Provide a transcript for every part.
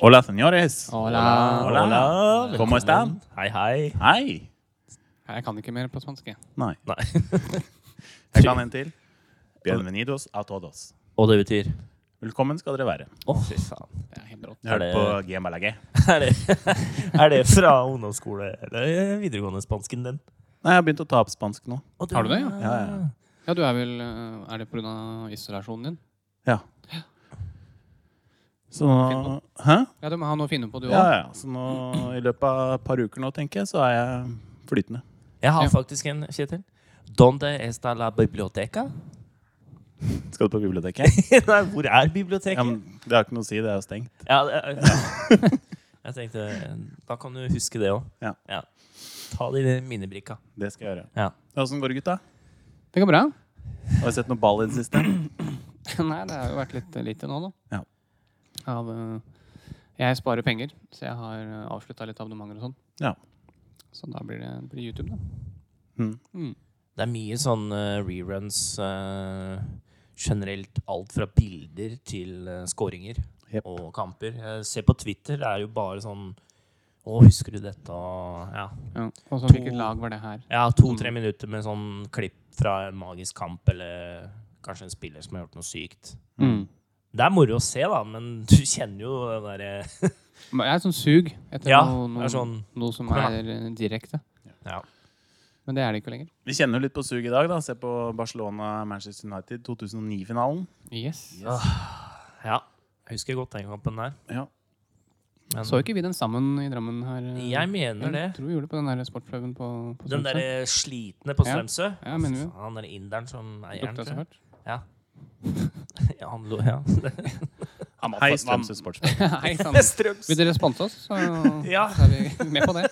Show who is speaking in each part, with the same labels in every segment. Speaker 1: Hola, señores.
Speaker 2: Hola.
Speaker 1: Hola. ¿Cómo están?
Speaker 3: Hei, hei.
Speaker 1: Hei.
Speaker 2: Jeg kan ikke mer på spansk. jeg.
Speaker 1: Nei.
Speaker 3: Nei.
Speaker 1: Jeg kan en til. Bienvenidos a todos.
Speaker 3: Og det betyr
Speaker 1: Velkommen skal dere være.
Speaker 3: Å, fy faen.
Speaker 2: Det er helt rått.
Speaker 1: Jeg
Speaker 3: Er det-
Speaker 1: hørte på GMLG.
Speaker 3: Er det, er det fra ungdomsskole eller videregående spansken din?
Speaker 1: Nei, jeg har begynt å ta opp spansk nå.
Speaker 3: Å,
Speaker 2: Har du det, ja?
Speaker 1: Ja, ja, ja.
Speaker 2: Ja, du er vel eh, Er det pga. isolasjonen din?
Speaker 1: ja. Så nå Hæ?
Speaker 2: Ja, du må ha noe å finne på, du
Speaker 1: Ja,
Speaker 2: òg.
Speaker 1: ja. Så nå, i løpet av et par uker nå, tenker jeg, så er jeg flytende.
Speaker 3: Jeg har
Speaker 2: Ja.
Speaker 3: faktisk en, Kjetil. Donde está la biblioteca?
Speaker 1: Skal du på biblioteket?
Speaker 3: Nei, hvor er
Speaker 1: Ja,
Speaker 3: biblioteket?
Speaker 1: men det har ikke noe å si, det er jo stengt.
Speaker 3: Ja, det er- ja. Jeg tenkte Da kan du huske det òg.
Speaker 1: Ja.
Speaker 3: Ta det i den minnebrikka.
Speaker 1: Det skal jeg gjøre.
Speaker 3: Ja.
Speaker 1: Åssen går det, gutta?
Speaker 2: Det går bra.
Speaker 1: Har vi sett noe ball i det siste?
Speaker 2: Nei, det har jo vært litt eh, lite nå, da.
Speaker 1: Ja.
Speaker 2: Av, eh, jeg sparer penger, så jeg har avslutta litt abonnementer og sånn.
Speaker 1: Ja.
Speaker 2: Så da blir det blir YouTube, da.
Speaker 1: Mm.
Speaker 2: Mm.
Speaker 3: Det er mye sånn eh, reruns eh, generelt. Alt fra bilder til eh, skåringer
Speaker 1: Jep.
Speaker 3: og kamper. Jeg ser på Twitter, det er jo bare sånn Å, husker du dette? Og, ja.
Speaker 2: Ja. Og så
Speaker 3: To-
Speaker 2: hvilket lag var det her?
Speaker 3: Ja, to-tre minutter med sånn klipp fra en magisk kamp, eller kanskje en spiller som har gjort noe sykt.
Speaker 2: Mm.
Speaker 3: Det er moro å se, da, men du kjenner jo det derre
Speaker 2: Men Jeg er sånn sug etter
Speaker 3: Ja,
Speaker 2: noe, noe,
Speaker 3: det er sånn-
Speaker 2: noe som
Speaker 3: Kom
Speaker 2: er
Speaker 3: igjen,
Speaker 2: eh, direkte.
Speaker 3: ja.
Speaker 2: Men det er det ikke lenger.
Speaker 1: Vi kjenner jo litt på sug i dag. da. Se på Barcelona-Manchester United 2009-finalen.
Speaker 2: Yes.
Speaker 3: ja. Jeg husker godt den kampen der.
Speaker 1: Ja.
Speaker 3: Men
Speaker 2: Så ikke vi den sammen i Drammen her? eh,
Speaker 3: jeg mener det.
Speaker 2: Jeg tror vi gjorde det på den der sportsprøven på, på
Speaker 3: Den
Speaker 2: Strømsø.
Speaker 3: derre slitne på
Speaker 2: Ja.
Speaker 3: Strømsø.
Speaker 2: Ja, mener du?
Speaker 3: Han derre inderen som eier
Speaker 2: Lukta
Speaker 3: den,
Speaker 2: så
Speaker 3: tror jeg.
Speaker 2: fælt.
Speaker 3: Ja, han lo, ja.
Speaker 1: Hei, Strømsø Sportspark.
Speaker 2: Hei sann.
Speaker 3: Strøms.
Speaker 2: Vil dere sponse oss, så
Speaker 3: Ja.
Speaker 2: så er vi med på det.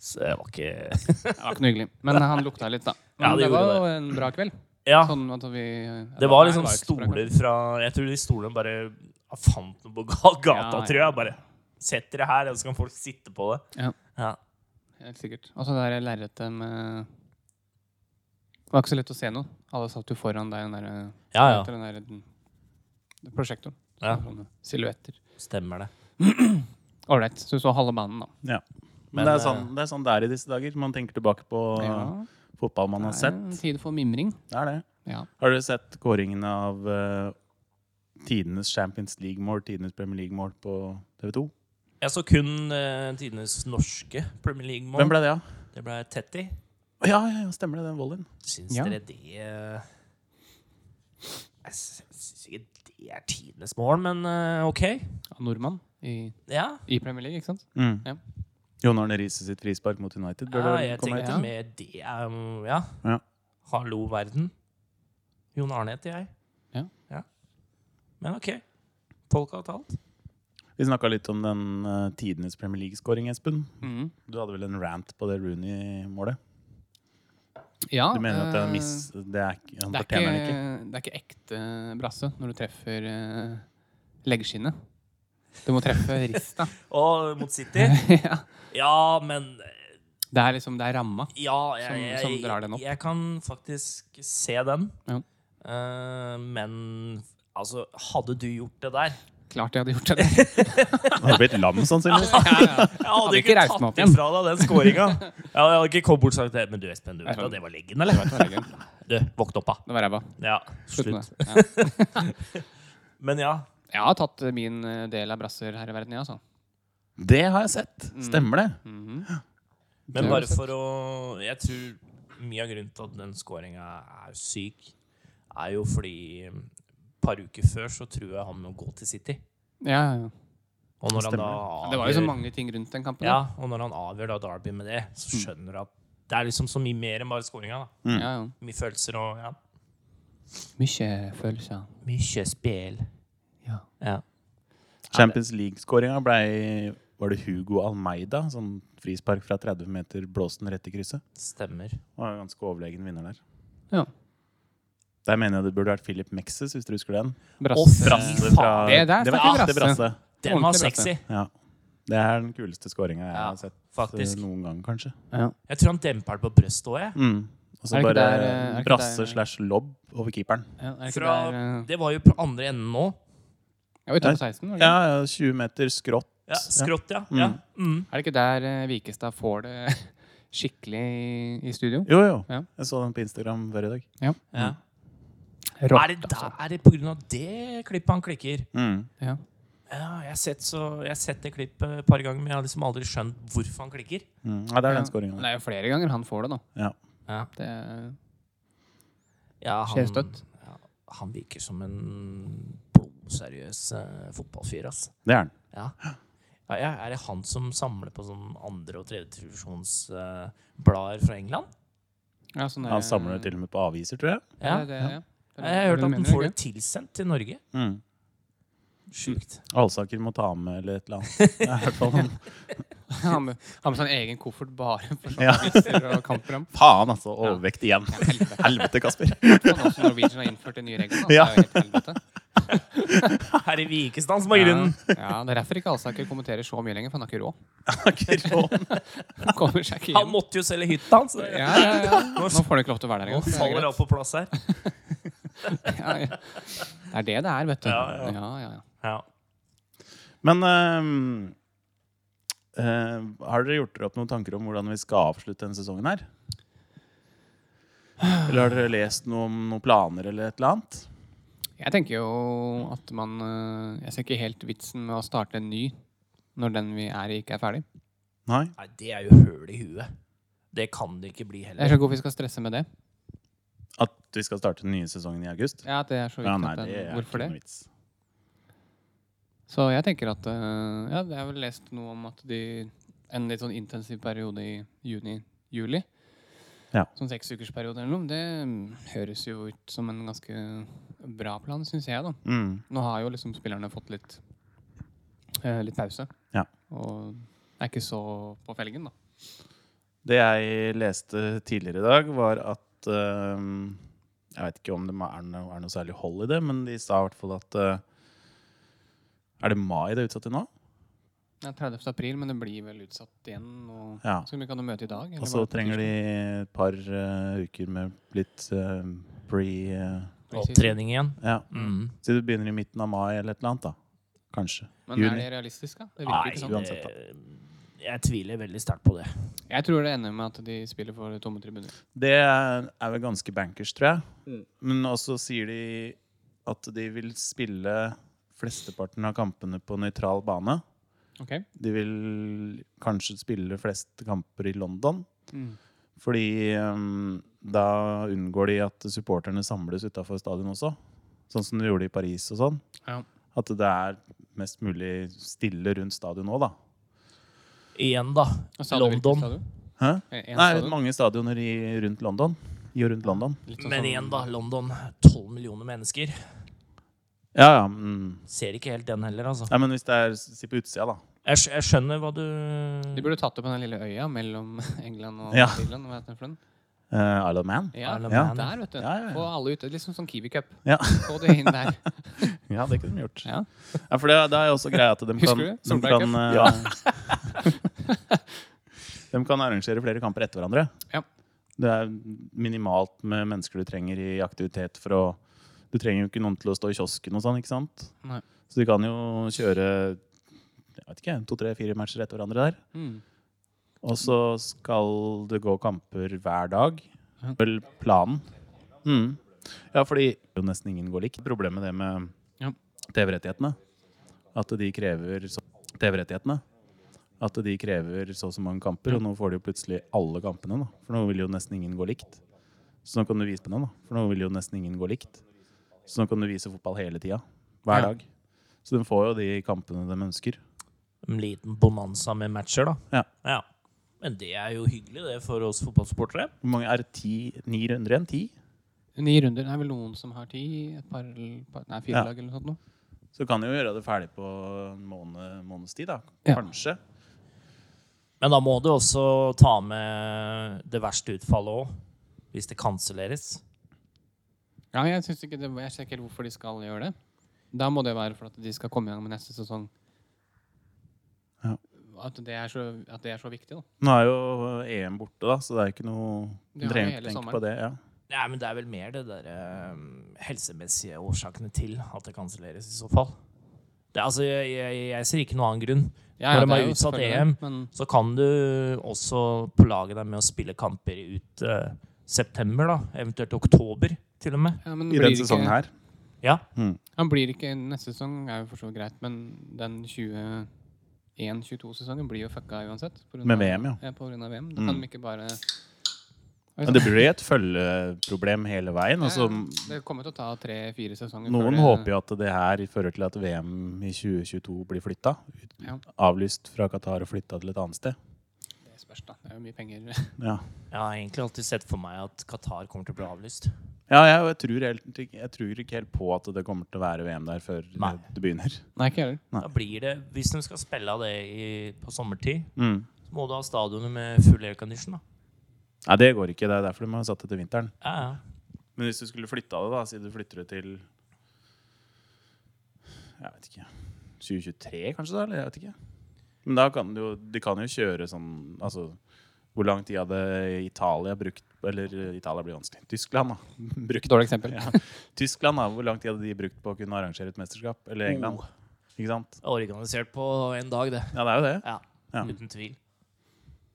Speaker 3: Så det var ikke
Speaker 2: Det var ikke noe hyggelig. Men han lukta litt, da. Men
Speaker 3: Ja, det
Speaker 2: det, var
Speaker 3: gjorde
Speaker 2: jo en bra kveld.
Speaker 3: Ja.
Speaker 2: Sånn at vi ja,
Speaker 3: Det var
Speaker 2: nei,
Speaker 3: liksom
Speaker 2: ikke så bra kveld.
Speaker 3: stoler fra Jeg tror de stolene bare ah, fant noe på ga- gata,
Speaker 2: Ja, ja.
Speaker 3: tror jeg. Bare Sett dere her, og så kan folk sitte på det.
Speaker 2: Ja.
Speaker 3: Ja.
Speaker 2: Helt sikkert. Og så det der lerretet med Det var ikke så lett å se noe. Alle satt jo foran deg, den derre
Speaker 3: ja, ja.
Speaker 2: den der, den, prosjektoren.
Speaker 3: Ja.
Speaker 2: Sånne Silhuetter.
Speaker 3: Stemmer det.
Speaker 2: Ålreit. Så du så halve banen, da.
Speaker 1: Men det er, sånn, det er sånn det er i disse dager. Man tenker tilbake på
Speaker 2: Ja.
Speaker 1: fotball man har
Speaker 2: Det er
Speaker 1: sett.
Speaker 2: en Tid for mimring.
Speaker 1: Det er det.
Speaker 2: Ja.
Speaker 1: Har dere sett kåringen av eh, tidenes Champions League-mål, tidenes Premier League-mål på TV 2?
Speaker 3: Jeg så kun eh, tidenes norske Premier League-mål.
Speaker 1: Hvem ble det, da?
Speaker 3: Det ble Tetty.
Speaker 1: Ja, ja, ja, stemmer det. Den volleyen.
Speaker 3: Syns
Speaker 2: Ja.
Speaker 3: dere det eh, Jeg sy- syns ikke det er tidenes mål, men eh, OK.
Speaker 2: Av nordmann i,
Speaker 3: Ja.
Speaker 2: i Premier League, ikke sant?
Speaker 1: Mm.
Speaker 2: Ja.
Speaker 1: Jon Arne Riise sitt frispark mot United. bør
Speaker 3: ja
Speaker 1: det
Speaker 3: jeg
Speaker 1: komme
Speaker 3: tenkte
Speaker 2: etter.
Speaker 3: mer det um, ja.
Speaker 1: Ja.
Speaker 3: Hallo, verden. Jon Arne heter jeg.
Speaker 2: Ja.
Speaker 3: Men OK. Folk har talt.
Speaker 1: etter. Vi snakka litt om den eh, tidenes Premier League-skåring, Espen.
Speaker 3: Mm.
Speaker 2: Mhm.
Speaker 1: Du hadde vel en rant på det Rooney-målet?
Speaker 2: Ja,
Speaker 1: Du mener at det er
Speaker 2: eh,
Speaker 1: miss... Det er, ikke- han
Speaker 2: det er,
Speaker 1: fortjener den
Speaker 2: ikke,
Speaker 1: ikke?
Speaker 2: det er ikke ekte brasse når du treffer uh, leggskinnet. Du må treffe rista.
Speaker 3: Og mot City?
Speaker 2: ja.
Speaker 3: Ja, men eh,
Speaker 2: Det er liksom det er ramma.
Speaker 3: Ja, jeg,
Speaker 2: Som-
Speaker 3: jeg,
Speaker 2: som drar den opp.
Speaker 3: jeg kan faktisk se den.
Speaker 2: Ja.
Speaker 3: Eh, men altså, hadde du gjort det der
Speaker 2: Klart jeg hadde gjort det.
Speaker 1: Han hadde blitt lam, sannsynligvis.
Speaker 2: ja, ja.
Speaker 3: Jeg
Speaker 2: Hadde
Speaker 3: hadde
Speaker 2: ikke
Speaker 3: ikke
Speaker 2: reist meg opp
Speaker 3: tatt
Speaker 2: igjen.
Speaker 3: ifra deg den skåringa. Jeg hadde ikke kommet bort og sagt Men du, Espen, du vet at det var leggen, eller?
Speaker 2: Det var leggen.
Speaker 3: Du, våkn opp, da.
Speaker 2: Det var ræva.
Speaker 3: Ja,
Speaker 2: Slutt
Speaker 3: slutt.
Speaker 2: med det. Ja.
Speaker 3: Men ja.
Speaker 2: Jeg har tatt eh, min eh, del av brasser her i verden, jeg, altså.
Speaker 1: Det har jeg sett.
Speaker 2: Mm.
Speaker 1: Stemmer det?
Speaker 2: Mhm. Det
Speaker 3: Men
Speaker 2: har
Speaker 3: bare
Speaker 2: jeg sett.
Speaker 3: for å Jeg tror mye av grunnen til at den scoringa er syk, er jo fordi et par uker før så tror jeg han må gå til City.
Speaker 2: Ja, ja, ja.
Speaker 3: Og når han da
Speaker 1: Stemmer.
Speaker 3: avgjør,
Speaker 2: Det var jo så mange ting rundt den kampen.
Speaker 3: ja,
Speaker 2: da.
Speaker 3: og når han avgjør da Derby med det, så
Speaker 2: Mm.
Speaker 3: skjønner du at det er liksom så mye mer enn bare scoringa. da.
Speaker 2: Ja, ja.
Speaker 3: Mye følelser og ja.
Speaker 2: Mye følelser.
Speaker 3: Mye spill.
Speaker 2: Ja.
Speaker 3: Ja.
Speaker 1: Champions League-skåringa blei Var det Hugo Almeida? Sånn frispark fra 30 meter, blåste den rett i krysset.
Speaker 3: Stemmer.
Speaker 1: Var jo ganske overlegen vinner der.
Speaker 2: Ja.
Speaker 1: Der mener jeg det burde vært Philip Mexes, hvis du husker den.
Speaker 2: Brasse.
Speaker 3: Brasse fra
Speaker 2: Det der
Speaker 1: det var
Speaker 2: snakker
Speaker 1: ekte
Speaker 2: brasse.
Speaker 1: brasse.
Speaker 3: Den var
Speaker 2: Ordentlig brasse.
Speaker 3: sexy,
Speaker 1: Ja. Det er den kuleste skåringa jeg
Speaker 3: Ja,
Speaker 1: har sett eh,
Speaker 3: faktisk.
Speaker 1: noen gang, kanskje.
Speaker 2: Ja.
Speaker 3: Jeg tror han demper det på brystet òg, jeg.
Speaker 1: Mm. Og
Speaker 2: Er
Speaker 1: så
Speaker 2: det
Speaker 1: bare
Speaker 2: ikke der, eh, er det ikke
Speaker 1: brasse
Speaker 2: der-
Speaker 3: Mm.
Speaker 1: slash lobb over keeperen.
Speaker 2: Ja, er ikke
Speaker 3: Fra,
Speaker 2: der, eh,
Speaker 3: det var jo på andre enden nå.
Speaker 2: Ja, utenfor 16? var det ikke?
Speaker 1: Ja, ja, 20 meter skrått.
Speaker 3: Ja, skrått, ja. ja. Mm.
Speaker 2: Er det ikke der eh, Vikestad får det skikkelig i- i studio?
Speaker 1: Jo, jo.
Speaker 2: Ja.
Speaker 1: Jeg så den på Instagram hver i dag.
Speaker 3: Ja.
Speaker 2: Rått,
Speaker 3: er, det der, er det på grunn av det klippet han klikker?
Speaker 1: Mm.
Speaker 2: Ja.
Speaker 3: Ja, jeg har sett, så, jeg har sett det klippet et par ganger, men jeg har liksom aldri skjønt hvorfor han klikker.
Speaker 1: Mm. Ja, det er
Speaker 2: Ja.
Speaker 1: den skåringa.
Speaker 2: Men Det er jo flere ganger han får det, da.
Speaker 1: Ja.
Speaker 3: Ja.
Speaker 2: Det er-
Speaker 3: Ja, han,
Speaker 2: Skjer støtt.
Speaker 3: Ja, han virker som en blodseriøs eh, fotballfyr, ass.
Speaker 1: Det er den.
Speaker 3: Ja. Ja, ja, er det han som samler på sånn andre- og tredjetrusjonsblader blader fra England?
Speaker 2: ja, sånn der-
Speaker 1: Han samler det til og med på aviser, tror jeg.
Speaker 2: Ja, det, ja. Det er
Speaker 3: Jeg
Speaker 2: det
Speaker 3: har hørt
Speaker 2: du
Speaker 3: at han
Speaker 2: mener,
Speaker 3: får det
Speaker 2: ikke?
Speaker 3: tilsendt til Norge.
Speaker 1: Mm.
Speaker 3: Sjukt.
Speaker 1: Alsaker må ta med eller et eller annet. Det er i hvert fall noen-
Speaker 2: Han med, han med sånn egen koffert bare for
Speaker 1: Ja.
Speaker 2: journalister og kampprogram.
Speaker 1: Faen, altså. Overvekt igjen.
Speaker 2: helvete.
Speaker 1: Helvete, Kasper.
Speaker 2: Sånn også Norwegian har innført en ny regel. da.
Speaker 1: Ja.
Speaker 2: Det er jo helt helvete.
Speaker 3: Herre Vikestad som har grunnen!
Speaker 2: Ja, ja, det er derfor ikke Alsaker kommenterer så mye lenger, for han har ikke råd.
Speaker 1: Akkurat.
Speaker 2: Han kommer seg ikke
Speaker 3: Han
Speaker 2: inn.
Speaker 3: måtte jo selge hytta hans! det-
Speaker 2: Ja, ja, ja. Nå får du ikke lov til å være der
Speaker 3: Nå
Speaker 2: engang. Det,
Speaker 3: faller
Speaker 2: er
Speaker 3: alt på plass her.
Speaker 2: greit. ja, ja. det er det det er, vet du.
Speaker 3: Ja, ja.
Speaker 2: Ja, ja, ja.
Speaker 3: Ja.
Speaker 1: Men ehm, eh, har dere gjort dere opp noen tanker om hvordan vi skal avslutte denne sesongen her? Eller har dere lest noe om noen planer eller et eller annet?
Speaker 2: Jeg tenker jo at man øh, Jeg ser ikke helt vitsen med å starte en ny når den vi er i, ikke er ferdig.
Speaker 1: Nei?
Speaker 3: Nei, det er jo høl i huet. Det kan det ikke bli
Speaker 2: Jeg
Speaker 3: heller.
Speaker 2: skjønner ikke hvorfor vi skal stresse med det.
Speaker 1: At vi skal starte den nye sesongen i august?
Speaker 2: Ja, at det er så viktig.
Speaker 1: Ja, nei,
Speaker 2: at den,
Speaker 1: det er
Speaker 2: hvorfor
Speaker 1: ikke
Speaker 2: det?
Speaker 1: noe vits.
Speaker 2: Så jeg tenker at øh, Ja, jeg har vel lest noe om at de En litt sånn intensiv periode i juni-juli.
Speaker 1: Ja.
Speaker 2: Sånn seksukersperiode eller noe. Det mm, høres jo ut som en ganske bra plan, syns jeg, da.
Speaker 1: Mm.
Speaker 2: Nå har jo liksom spillerne fått litt eh, Litt pause.
Speaker 1: Ja.
Speaker 2: Og er ikke så på felgen, da.
Speaker 1: Det jeg leste tidligere i dag, var at ehm, Jeg vet ikke om det er noe, er noe særlig hold i det, men de sa i hvert fall at eh, Er det mai det er utsatt til nå?
Speaker 2: Ja, 30. april, men det blir vel utsatt igjen. Og
Speaker 1: Ja.
Speaker 2: Skal vi ikke ha noe møte i dag?
Speaker 1: Og så trenger de et par eh, uker med litt eh, pre... eh,
Speaker 3: Opptrening igjen.
Speaker 1: ja.
Speaker 3: Mm.
Speaker 1: Si du begynner i midten av mai eller et eller annet, da. Kanskje.
Speaker 2: Men er
Speaker 1: Juni.
Speaker 2: det realistisk, da? Det virker ikke sånn.
Speaker 1: uansett,
Speaker 3: det- eh, jeg tviler veldig sterkt på det.
Speaker 2: Jeg tror det ender med at de spiller for tomme tribuner.
Speaker 1: Det er vel ganske bankers, tror jeg.
Speaker 2: Mm.
Speaker 1: Men også sier de at de vil spille flesteparten av kampene på nøytral bane.
Speaker 2: Ok?
Speaker 1: De vil kanskje spille flest kamper i London.
Speaker 2: Mm.
Speaker 1: Fordi ehm, da unngår de at supporterne samles utafor stadion også. Sånn som de gjorde i Paris og sånn.
Speaker 2: Ja.
Speaker 1: At det er mest mulig stille rundt stadion òg, da.
Speaker 3: Igjen, da.
Speaker 2: Og stadion, hvilket
Speaker 3: London.
Speaker 2: stadion?
Speaker 1: Hæ?
Speaker 2: Eh, en
Speaker 1: Nei,
Speaker 2: stadion?
Speaker 1: mange stadioner i, rundt London. I og rundt London.
Speaker 2: Litt sånn
Speaker 3: Men
Speaker 2: som-
Speaker 3: igjen, da. London. 12 millioner mennesker.
Speaker 1: Ja, ja. Mm.
Speaker 3: Ser ikke helt den heller, altså.
Speaker 1: Nei, men hvis det er si på utsida, da.
Speaker 3: Jeg, skj- jeg skjønner hva du
Speaker 2: De burde tatt opp den lille øya mellom England og
Speaker 1: Ja.
Speaker 2: Irland. Hva heter den for den?
Speaker 1: Uh, Isle of Man.
Speaker 2: Ja,
Speaker 3: Isle of Man.
Speaker 2: der, vet du.
Speaker 1: Ja, ja, ja.
Speaker 2: Få alle ute. Liksom sånn Kiwi Cup.
Speaker 1: Ja.
Speaker 2: Få det inn der.
Speaker 1: Ja, det kunne de gjort.
Speaker 2: Ja.
Speaker 1: Ja, for det, det er jo også greia at de
Speaker 2: Husker
Speaker 1: kan,
Speaker 2: du det?
Speaker 1: de
Speaker 2: Solberg
Speaker 1: kan, eh, de kan arrangere flere kamper etter hverandre.
Speaker 2: Ja.
Speaker 1: Det er minimalt med mennesker du trenger i aktivitet for å Du trenger jo ikke noen til å stå i kiosken og sånn, ikke sant?
Speaker 2: Nei.
Speaker 1: Så de kan jo kjøre jeg vet ikke, to-tre-fire matcher etter hverandre der.
Speaker 2: Mm.
Speaker 1: Og så skal det gå kamper hver dag.
Speaker 2: Ja.
Speaker 1: Vel planen. Mm. Ja, fordi jo nesten ingen går likt. Problemet med det med
Speaker 2: Ja.
Speaker 1: TV-rettighetene. At de krever så- TV-rettighetene. At de krever så og så mange kamper, og nå får de jo plutselig alle kampene. da. For nå vil jo nesten ingen gå likt. Så nå kan du vise på den, da. For nå vil jo nesten ingen gå likt. Så nå kan du vise fotball hele tida. Hver
Speaker 2: Ja.
Speaker 1: dag. Så de får jo de kampene de ønsker.
Speaker 3: En liten bonanza med matcher, da.
Speaker 1: Ja.
Speaker 3: ja. Men det er jo hyggelig, det, for oss fotballsupportere.
Speaker 1: Hvor mange er det? Ti? Ni runder igjen? Ti?
Speaker 2: Ni runder. Det er vel noen som har ti? Et par, par Nei, fire
Speaker 1: Ja.
Speaker 2: lag eller noe sånt noe.
Speaker 1: Så kan de jo gjøre det ferdig på en måned, måneds tid, da.
Speaker 2: Ja.
Speaker 1: Kanskje.
Speaker 3: Men da må du også ta med det verste utfallet òg, hvis det kanselleres.
Speaker 2: Ja, jeg synes ikke det, jeg ser ikke helt hvorfor de skal gjøre det. Da må det være for at de skal komme i gang med neste sesong.
Speaker 1: Ja.
Speaker 2: At, det er så, at det er så viktig, da.
Speaker 1: Nå er jo EM borte, da, så det er ikke noe
Speaker 2: Det har
Speaker 1: trenger
Speaker 2: vi
Speaker 1: ikke
Speaker 2: hele
Speaker 1: tenke
Speaker 2: sommeren.
Speaker 1: på det. Ja.
Speaker 3: Nei, men det er vel mer det der eh, helsemessige årsakene til at det kanselleres, i så fall. Det, altså, jeg, jeg, jeg ser ikke noen annen grunn.
Speaker 2: Ja,
Speaker 3: Når de
Speaker 2: det
Speaker 3: er
Speaker 2: jo
Speaker 3: utsatt
Speaker 2: selvfølgelig,
Speaker 3: EM,
Speaker 2: Men
Speaker 3: Så kan du også plage deg med å spille kamper ut eh, september, da. Eventuelt oktober, til og med.
Speaker 2: Ja, men
Speaker 1: I
Speaker 2: blir
Speaker 1: den
Speaker 2: ikke-
Speaker 1: sesongen her.
Speaker 3: Ja.
Speaker 1: Mm.
Speaker 2: Han blir ikke neste sesong, er jo for så vidt greit, men den 21-22-sesongen blir jo fucka uansett. på grunn
Speaker 1: Med
Speaker 2: av-
Speaker 1: VM, ja.
Speaker 2: Ja, på grunn av VM. Da kan
Speaker 1: Mm.
Speaker 2: de ikke bare
Speaker 1: Men det blir jo et følgeproblem hele veien.
Speaker 2: Ja,
Speaker 1: Altså,
Speaker 2: ja, Det kommer til å ta tre-fire sesonger.
Speaker 1: noen håper jo at det her fører til at VM i 2022 blir flytta.
Speaker 2: Ja.
Speaker 1: Avlyst fra Qatar og flytta til et annet sted.
Speaker 2: Det spørs, da. Det er jo mye penger.
Speaker 1: Ja.
Speaker 3: Jeg har egentlig alltid sett for meg at Qatar kommer til å bli avlyst.
Speaker 1: Ja, jeg, jeg, tror helt, ikke- jeg tror ikke helt på at det kommer til å være VM der før
Speaker 3: Nei.
Speaker 1: det begynner.
Speaker 2: Nei, ikke heller.
Speaker 3: Da blir det, Hvis de skal spille av det i, på sommertid,
Speaker 1: Mm.
Speaker 3: så må du ha stadionet med full aircondition. da.
Speaker 1: Nei, det går ikke. Det er derfor de har satt det til vinteren.
Speaker 3: Ja, ja.
Speaker 1: Men hvis du skulle flytta det, da, si du flytter det til Jeg vet ikke. 2023, kanskje? da, eller jeg vet ikke. Men da kan du jo, de kan jo kjøre sånn Altså, hvor lang tid hadde Italia brukt Eller eh, Italia blir vanskelig. Tyskland, da. Brukt
Speaker 2: Dårlig eksempel.
Speaker 1: Ja. Tyskland, da. Hvor lang tid hadde de brukt på å kunne arrangere et mesterskap? Eller England?
Speaker 3: Oh.
Speaker 1: Ikke sant?
Speaker 3: Det er Organisert på en dag, det.
Speaker 1: Ja, det er jo det.
Speaker 3: Ja,
Speaker 1: Ja.
Speaker 3: Uten tvil.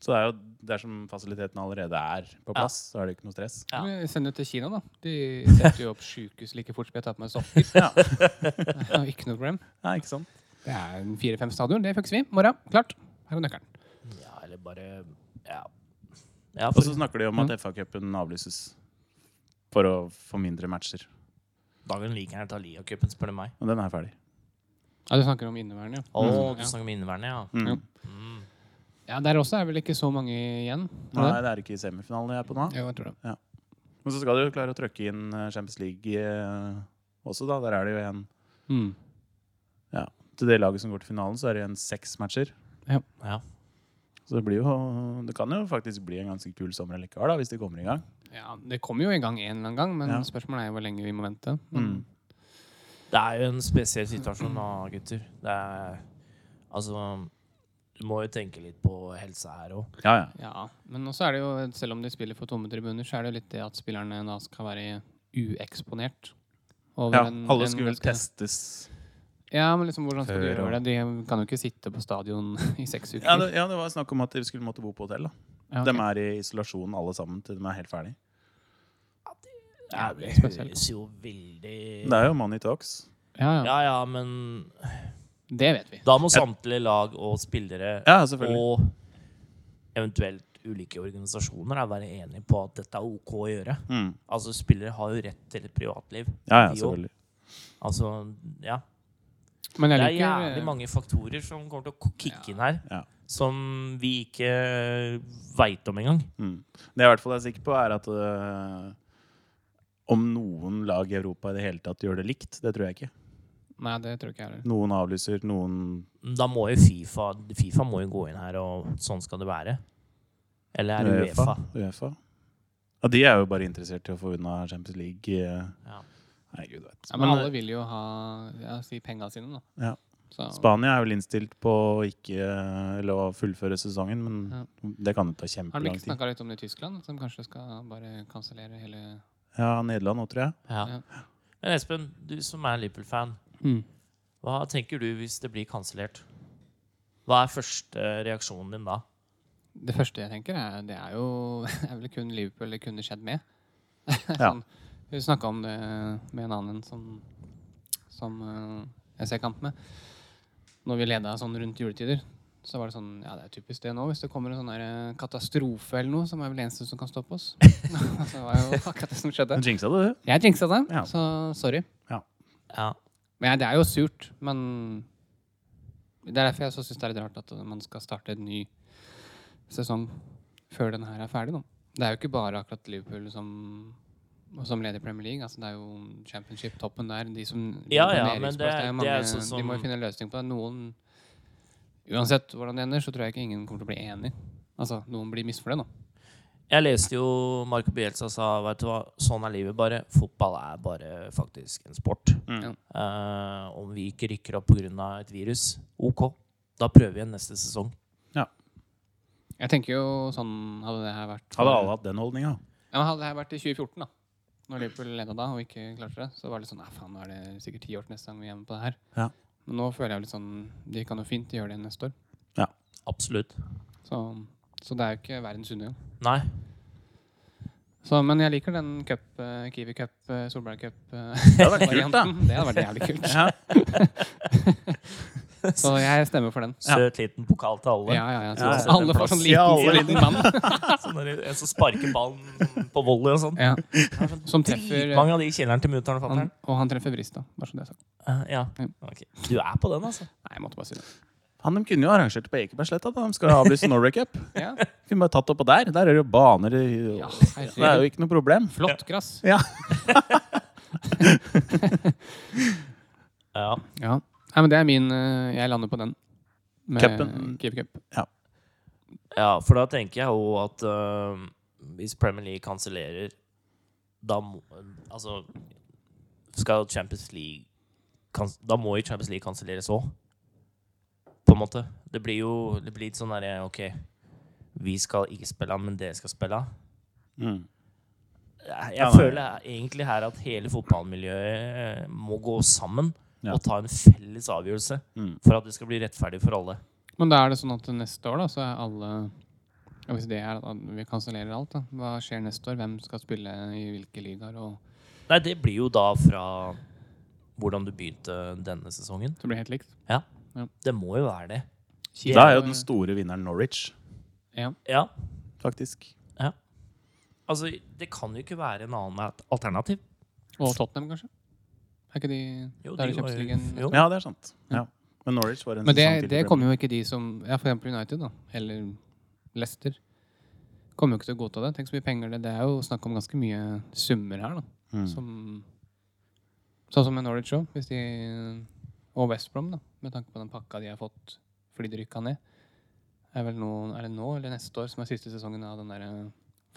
Speaker 1: Så det er jo dersom fasilitetene allerede er på plass, så er det ikke noe stress.
Speaker 3: Ja.
Speaker 2: Men jeg sender det til Kina, da. De setter jo opp sjukehus like fort som jeg tar på meg sokker.
Speaker 1: Ja.
Speaker 2: Det er jo Ikke noe problem.
Speaker 1: Nei, ikke sant?
Speaker 2: Det er en fire-fem stadion. Det fikser vi. Morgen. Klart. Her er nøkkelen.
Speaker 3: Ja, eller bare Ja. ja
Speaker 1: Og
Speaker 3: for,
Speaker 2: Altså,
Speaker 1: så snakker de om at FA-cupen avlyses for å få mindre matcher.
Speaker 3: dagen liker jeg å ta Lia-cupen, spør du meg.
Speaker 1: Men den er ferdig.
Speaker 2: Ja, du snakker om inneværende, ja.
Speaker 3: Å,
Speaker 2: Mm.
Speaker 3: du
Speaker 2: ja.
Speaker 3: snakker om inneværende, ja.
Speaker 1: Mm.
Speaker 3: Mm.
Speaker 2: ja. Der også er vel ikke så mange igjen? er
Speaker 1: Nei,
Speaker 2: det?
Speaker 1: det er ikke i semifinalen jeg er på nå.
Speaker 2: Jo, jeg tror det.
Speaker 1: Men så skal du jo klare å trøkke inn eh, Champions League eh, også, da. Der er det jo en
Speaker 2: Mm.
Speaker 1: Til det laget som går til finalen, så er det igjen seks matcher.
Speaker 3: Ja.
Speaker 1: Så det blir jo Det kan jo faktisk bli en ganske kul sommer likevel, da, hvis de kommer i gang.
Speaker 2: Ja, Det kommer jo i gang en eller annen gang, men
Speaker 1: Ja.
Speaker 2: spørsmålet er jo hvor lenge vi må vente. Men
Speaker 1: Mm.
Speaker 3: Det er jo en spesiell situasjon da, gutter. Det er Altså Du må jo tenke litt på helsa her òg.
Speaker 1: Ja, ja.
Speaker 2: ja, men også er det jo, selv om de spiller for tomme tribuner, så er det jo litt det at spillerne da skal være ueksponert. over
Speaker 1: ja
Speaker 2: en-
Speaker 1: alle
Speaker 2: en
Speaker 1: skulle vel
Speaker 2: ganske-
Speaker 1: testes.
Speaker 2: Ja, men liksom hvordan skal de
Speaker 1: Før og-
Speaker 2: gjøre det? De kan jo ikke sitte på stadion i seks uker.
Speaker 1: Ja det, ja, det var snakk om at de skulle måtte bo på hotell. da.
Speaker 2: Ja, ok.
Speaker 1: De er i isolasjon alle sammen til de er helt ferdig.
Speaker 3: Ja,
Speaker 2: Ja, det
Speaker 3: det
Speaker 2: er spesielt.
Speaker 3: høres jo veldig
Speaker 1: Det er jo Money Talks.
Speaker 2: ja, ja.
Speaker 3: Ja ja, men
Speaker 2: Det vet vi.
Speaker 3: da må samtlige lag og spillere
Speaker 1: Ja, selvfølgelig.
Speaker 3: og eventuelt ulike organisasjoner da, være enige på at dette er OK å gjøre.
Speaker 1: Mm.
Speaker 3: Altså, spillere har jo rett til et privatliv.
Speaker 1: Ja, ja,
Speaker 3: de også.
Speaker 1: selvfølgelig.
Speaker 3: Altså, ja.
Speaker 2: Men jeg
Speaker 3: Det er
Speaker 2: liker eh,
Speaker 3: jævlig mange faktorer som kommer til å kicke inn her,
Speaker 1: Ja.
Speaker 3: som vi ikke veit om engang.
Speaker 1: Mm. Det jeg i hvert fall er sikker på, er at øh, om noen lag i Europa i det hele tatt gjør det likt, det tror jeg ikke.
Speaker 2: Nei, det tror ikke jeg heller.
Speaker 1: Noen avlyser, noen
Speaker 3: Da må jo Fifa Fifa må jo gå inn her, og sånn skal det være. Eller er det Uefa?
Speaker 1: Uefa. Ja, de er jo bare interessert i å få unna Champions League. eh.
Speaker 3: Ja.
Speaker 1: Nei, gud vet.
Speaker 2: Ja, men
Speaker 1: Men,
Speaker 2: alle vil jo ha ja, si penga sine, da.
Speaker 1: Ja.
Speaker 2: Så,
Speaker 1: øh, Spania er vel innstilt på å ikke øh, eller å fullføre sesongen, men det kan jo ta
Speaker 2: har de
Speaker 1: kjempelang
Speaker 2: ikke
Speaker 1: tid.
Speaker 2: snakka litt om det i Tyskland, som kanskje skal bare kansellere hele
Speaker 1: Ja, Nederland nå, tror jeg.
Speaker 3: Ja.
Speaker 2: Ja.
Speaker 3: Men Espen, du som er Liverpool-fan,
Speaker 2: Mm.
Speaker 3: hva tenker du hvis det blir kansellert? Hva er første reaksjonen din da?
Speaker 2: Det første jeg tenker, er det er jo det er vel kun Liverpool det kunne skjedd med.
Speaker 1: Ja.
Speaker 2: sånn, vi snakka om det med en annen som, som eh, jeg ser kamp med. Når vi leda sånn rundt juletider, så var det sånn Ja, det er typisk det nå. Hvis det kommer en sånn der, eh, katastrofe eller noe, som er vel det eneste som kan stoppe oss. så var jo akkurat det som skjedde.
Speaker 1: Men jinxa du, du.
Speaker 2: Jeg jinxa det,
Speaker 1: Ja.
Speaker 2: så sorry.
Speaker 3: Ja.
Speaker 2: Men ja, det er jo surt, men Det er derfor jeg syns det er litt rart at man skal starte en ny sesong før den her er ferdig. Da. Det er jo ikke bare akkurat Liverpool som, og som leder Premier League. Altså, det er jo championship-toppen der. De som
Speaker 3: Ja,
Speaker 2: på
Speaker 3: ja,
Speaker 2: nedrykksplass,
Speaker 3: men det-
Speaker 2: er jo
Speaker 3: det er
Speaker 2: mange-
Speaker 3: sånn som-
Speaker 2: De må jo finne en løsning på det. Noen Uansett hvordan det ender, så tror jeg ikke ingen kommer til å bli enig. Altså, noen blir misfornøyd, da.
Speaker 3: Jeg leste jo Marco Bielsa sa vet du hva, sånn er livet bare. Fotball er bare faktisk en sport.
Speaker 1: Mm.
Speaker 2: Ja.
Speaker 3: Eh, om vi ikke rykker opp pga. et virus, OK. Da prøver vi igjen neste sesong.
Speaker 2: Jeg tenker jo sånn hadde det her vært for-
Speaker 1: Hadde alle hatt den holdninga.
Speaker 2: Ja, men Hadde det her vært i 2014, da når Liverpool leda da og ikke klarte det, så var det litt sånn Nei, faen, nå er det sikkert ti år til neste gang vi er med på det her.
Speaker 1: Ja.
Speaker 2: Men nå føler jeg litt sånn De kan jo fint gjøre det neste år.
Speaker 3: Absolutt.
Speaker 2: Så, så det er jo ikke verdens undergang.
Speaker 3: Nei.
Speaker 2: Så, men jeg liker den cup, eh, Kiwi Cup, eh, Solberg
Speaker 1: Det hadde vært kult, da.
Speaker 2: Cup-varianten. det hadde vært jævlig kult.
Speaker 1: Ja.
Speaker 2: Så jeg stemmer for den.
Speaker 1: Ja.
Speaker 3: Søt liten pokal til alle.
Speaker 2: Ja, ja, ja. Så,
Speaker 1: Ja,
Speaker 3: ja.
Speaker 2: Alle får sånn
Speaker 1: Ja,
Speaker 2: liten,
Speaker 1: alle.
Speaker 2: liten mann
Speaker 3: Sånn der, en som sparker ballen på volley og sånn.
Speaker 2: ja. som treffer eh,
Speaker 3: Mange av de i kjelleren til mutter'n og
Speaker 2: han,
Speaker 3: fatter'n.
Speaker 2: Og han treffer Bristad. Bare så det er sagt.
Speaker 3: Eh, Ja.
Speaker 2: Ja.
Speaker 3: Ok. Du er på den, altså.
Speaker 2: Nei, jeg måtte bare si det.
Speaker 1: Han, de kunne jo arrangert det på Ekebergsletta. da. De skal jo avlyse Norway Cup.
Speaker 2: Ja,
Speaker 1: Kunne bare tatt det oppå der. Der er det jo baner. i-
Speaker 2: ja
Speaker 1: Det er
Speaker 2: herregud.
Speaker 1: jo ikke noe problem.
Speaker 2: Flott gress.
Speaker 1: Ja.
Speaker 3: Ja.
Speaker 2: Ja. Nei, men det er min eh, Jeg lander på den. Med
Speaker 1: Cupen.
Speaker 2: Kiwi Cup.
Speaker 3: Ja, for da tenker jeg jo at øh, hvis Premier League kansellerer, da må Altså, skal Champions League kans Da må jo Champions League kanselleres òg, på en måte. Det blir jo det blir litt sånn derre OK, vi skal ikke spille, men dere skal spille.
Speaker 1: Mm.
Speaker 3: Jeg,
Speaker 1: Ja,
Speaker 3: jeg
Speaker 1: nei.
Speaker 3: føler egentlig her at hele fotballmiljøet må gå sammen
Speaker 1: Ja.
Speaker 3: og ta en felles avgjørelse
Speaker 1: Mm.
Speaker 3: for at det skal bli rettferdig for alle.
Speaker 2: Men da er det sånn at neste år, da, så er alle ja, Hvis det er at vi kansellerer alt, da. Hva skjer neste år? Hvem skal spille i hvilke ligaer? Og
Speaker 3: Nei, det blir jo da fra hvordan du begynte denne sesongen.
Speaker 2: så blir det helt likt.
Speaker 3: Det må jo være det.
Speaker 1: Da er jo den store vinneren Norwich,
Speaker 2: Ja.
Speaker 3: Ja.
Speaker 1: faktisk.
Speaker 3: Altså, det kan jo ikke være en annen at- alternativ.
Speaker 2: Og Tottenham, kanskje? Er ikke de
Speaker 3: Jo,
Speaker 2: Da er
Speaker 3: de
Speaker 2: det
Speaker 3: var jo-
Speaker 2: Champions League.
Speaker 3: jo.
Speaker 1: Ja, det er sant. Ja. Men Norwich var en
Speaker 2: Mm.
Speaker 1: sånn
Speaker 2: Men det,
Speaker 1: sesong til
Speaker 2: det
Speaker 1: i Premier
Speaker 2: kommer jo ikke de som Ja, for eksempel United, da. Eller Leicester. Kommer jo ikke til å godta det. Tenk så mye penger det Det er jo snakk om ganske mye summer her, da.
Speaker 1: League. Mm.
Speaker 2: Som Sånn som med Norwich òg, hvis de Og West Brom, da. Med tanke på den pakka de har fått fordi de rykka ned. Er, vel nå, er det nå eller neste år som er siste sesongen av den der eh,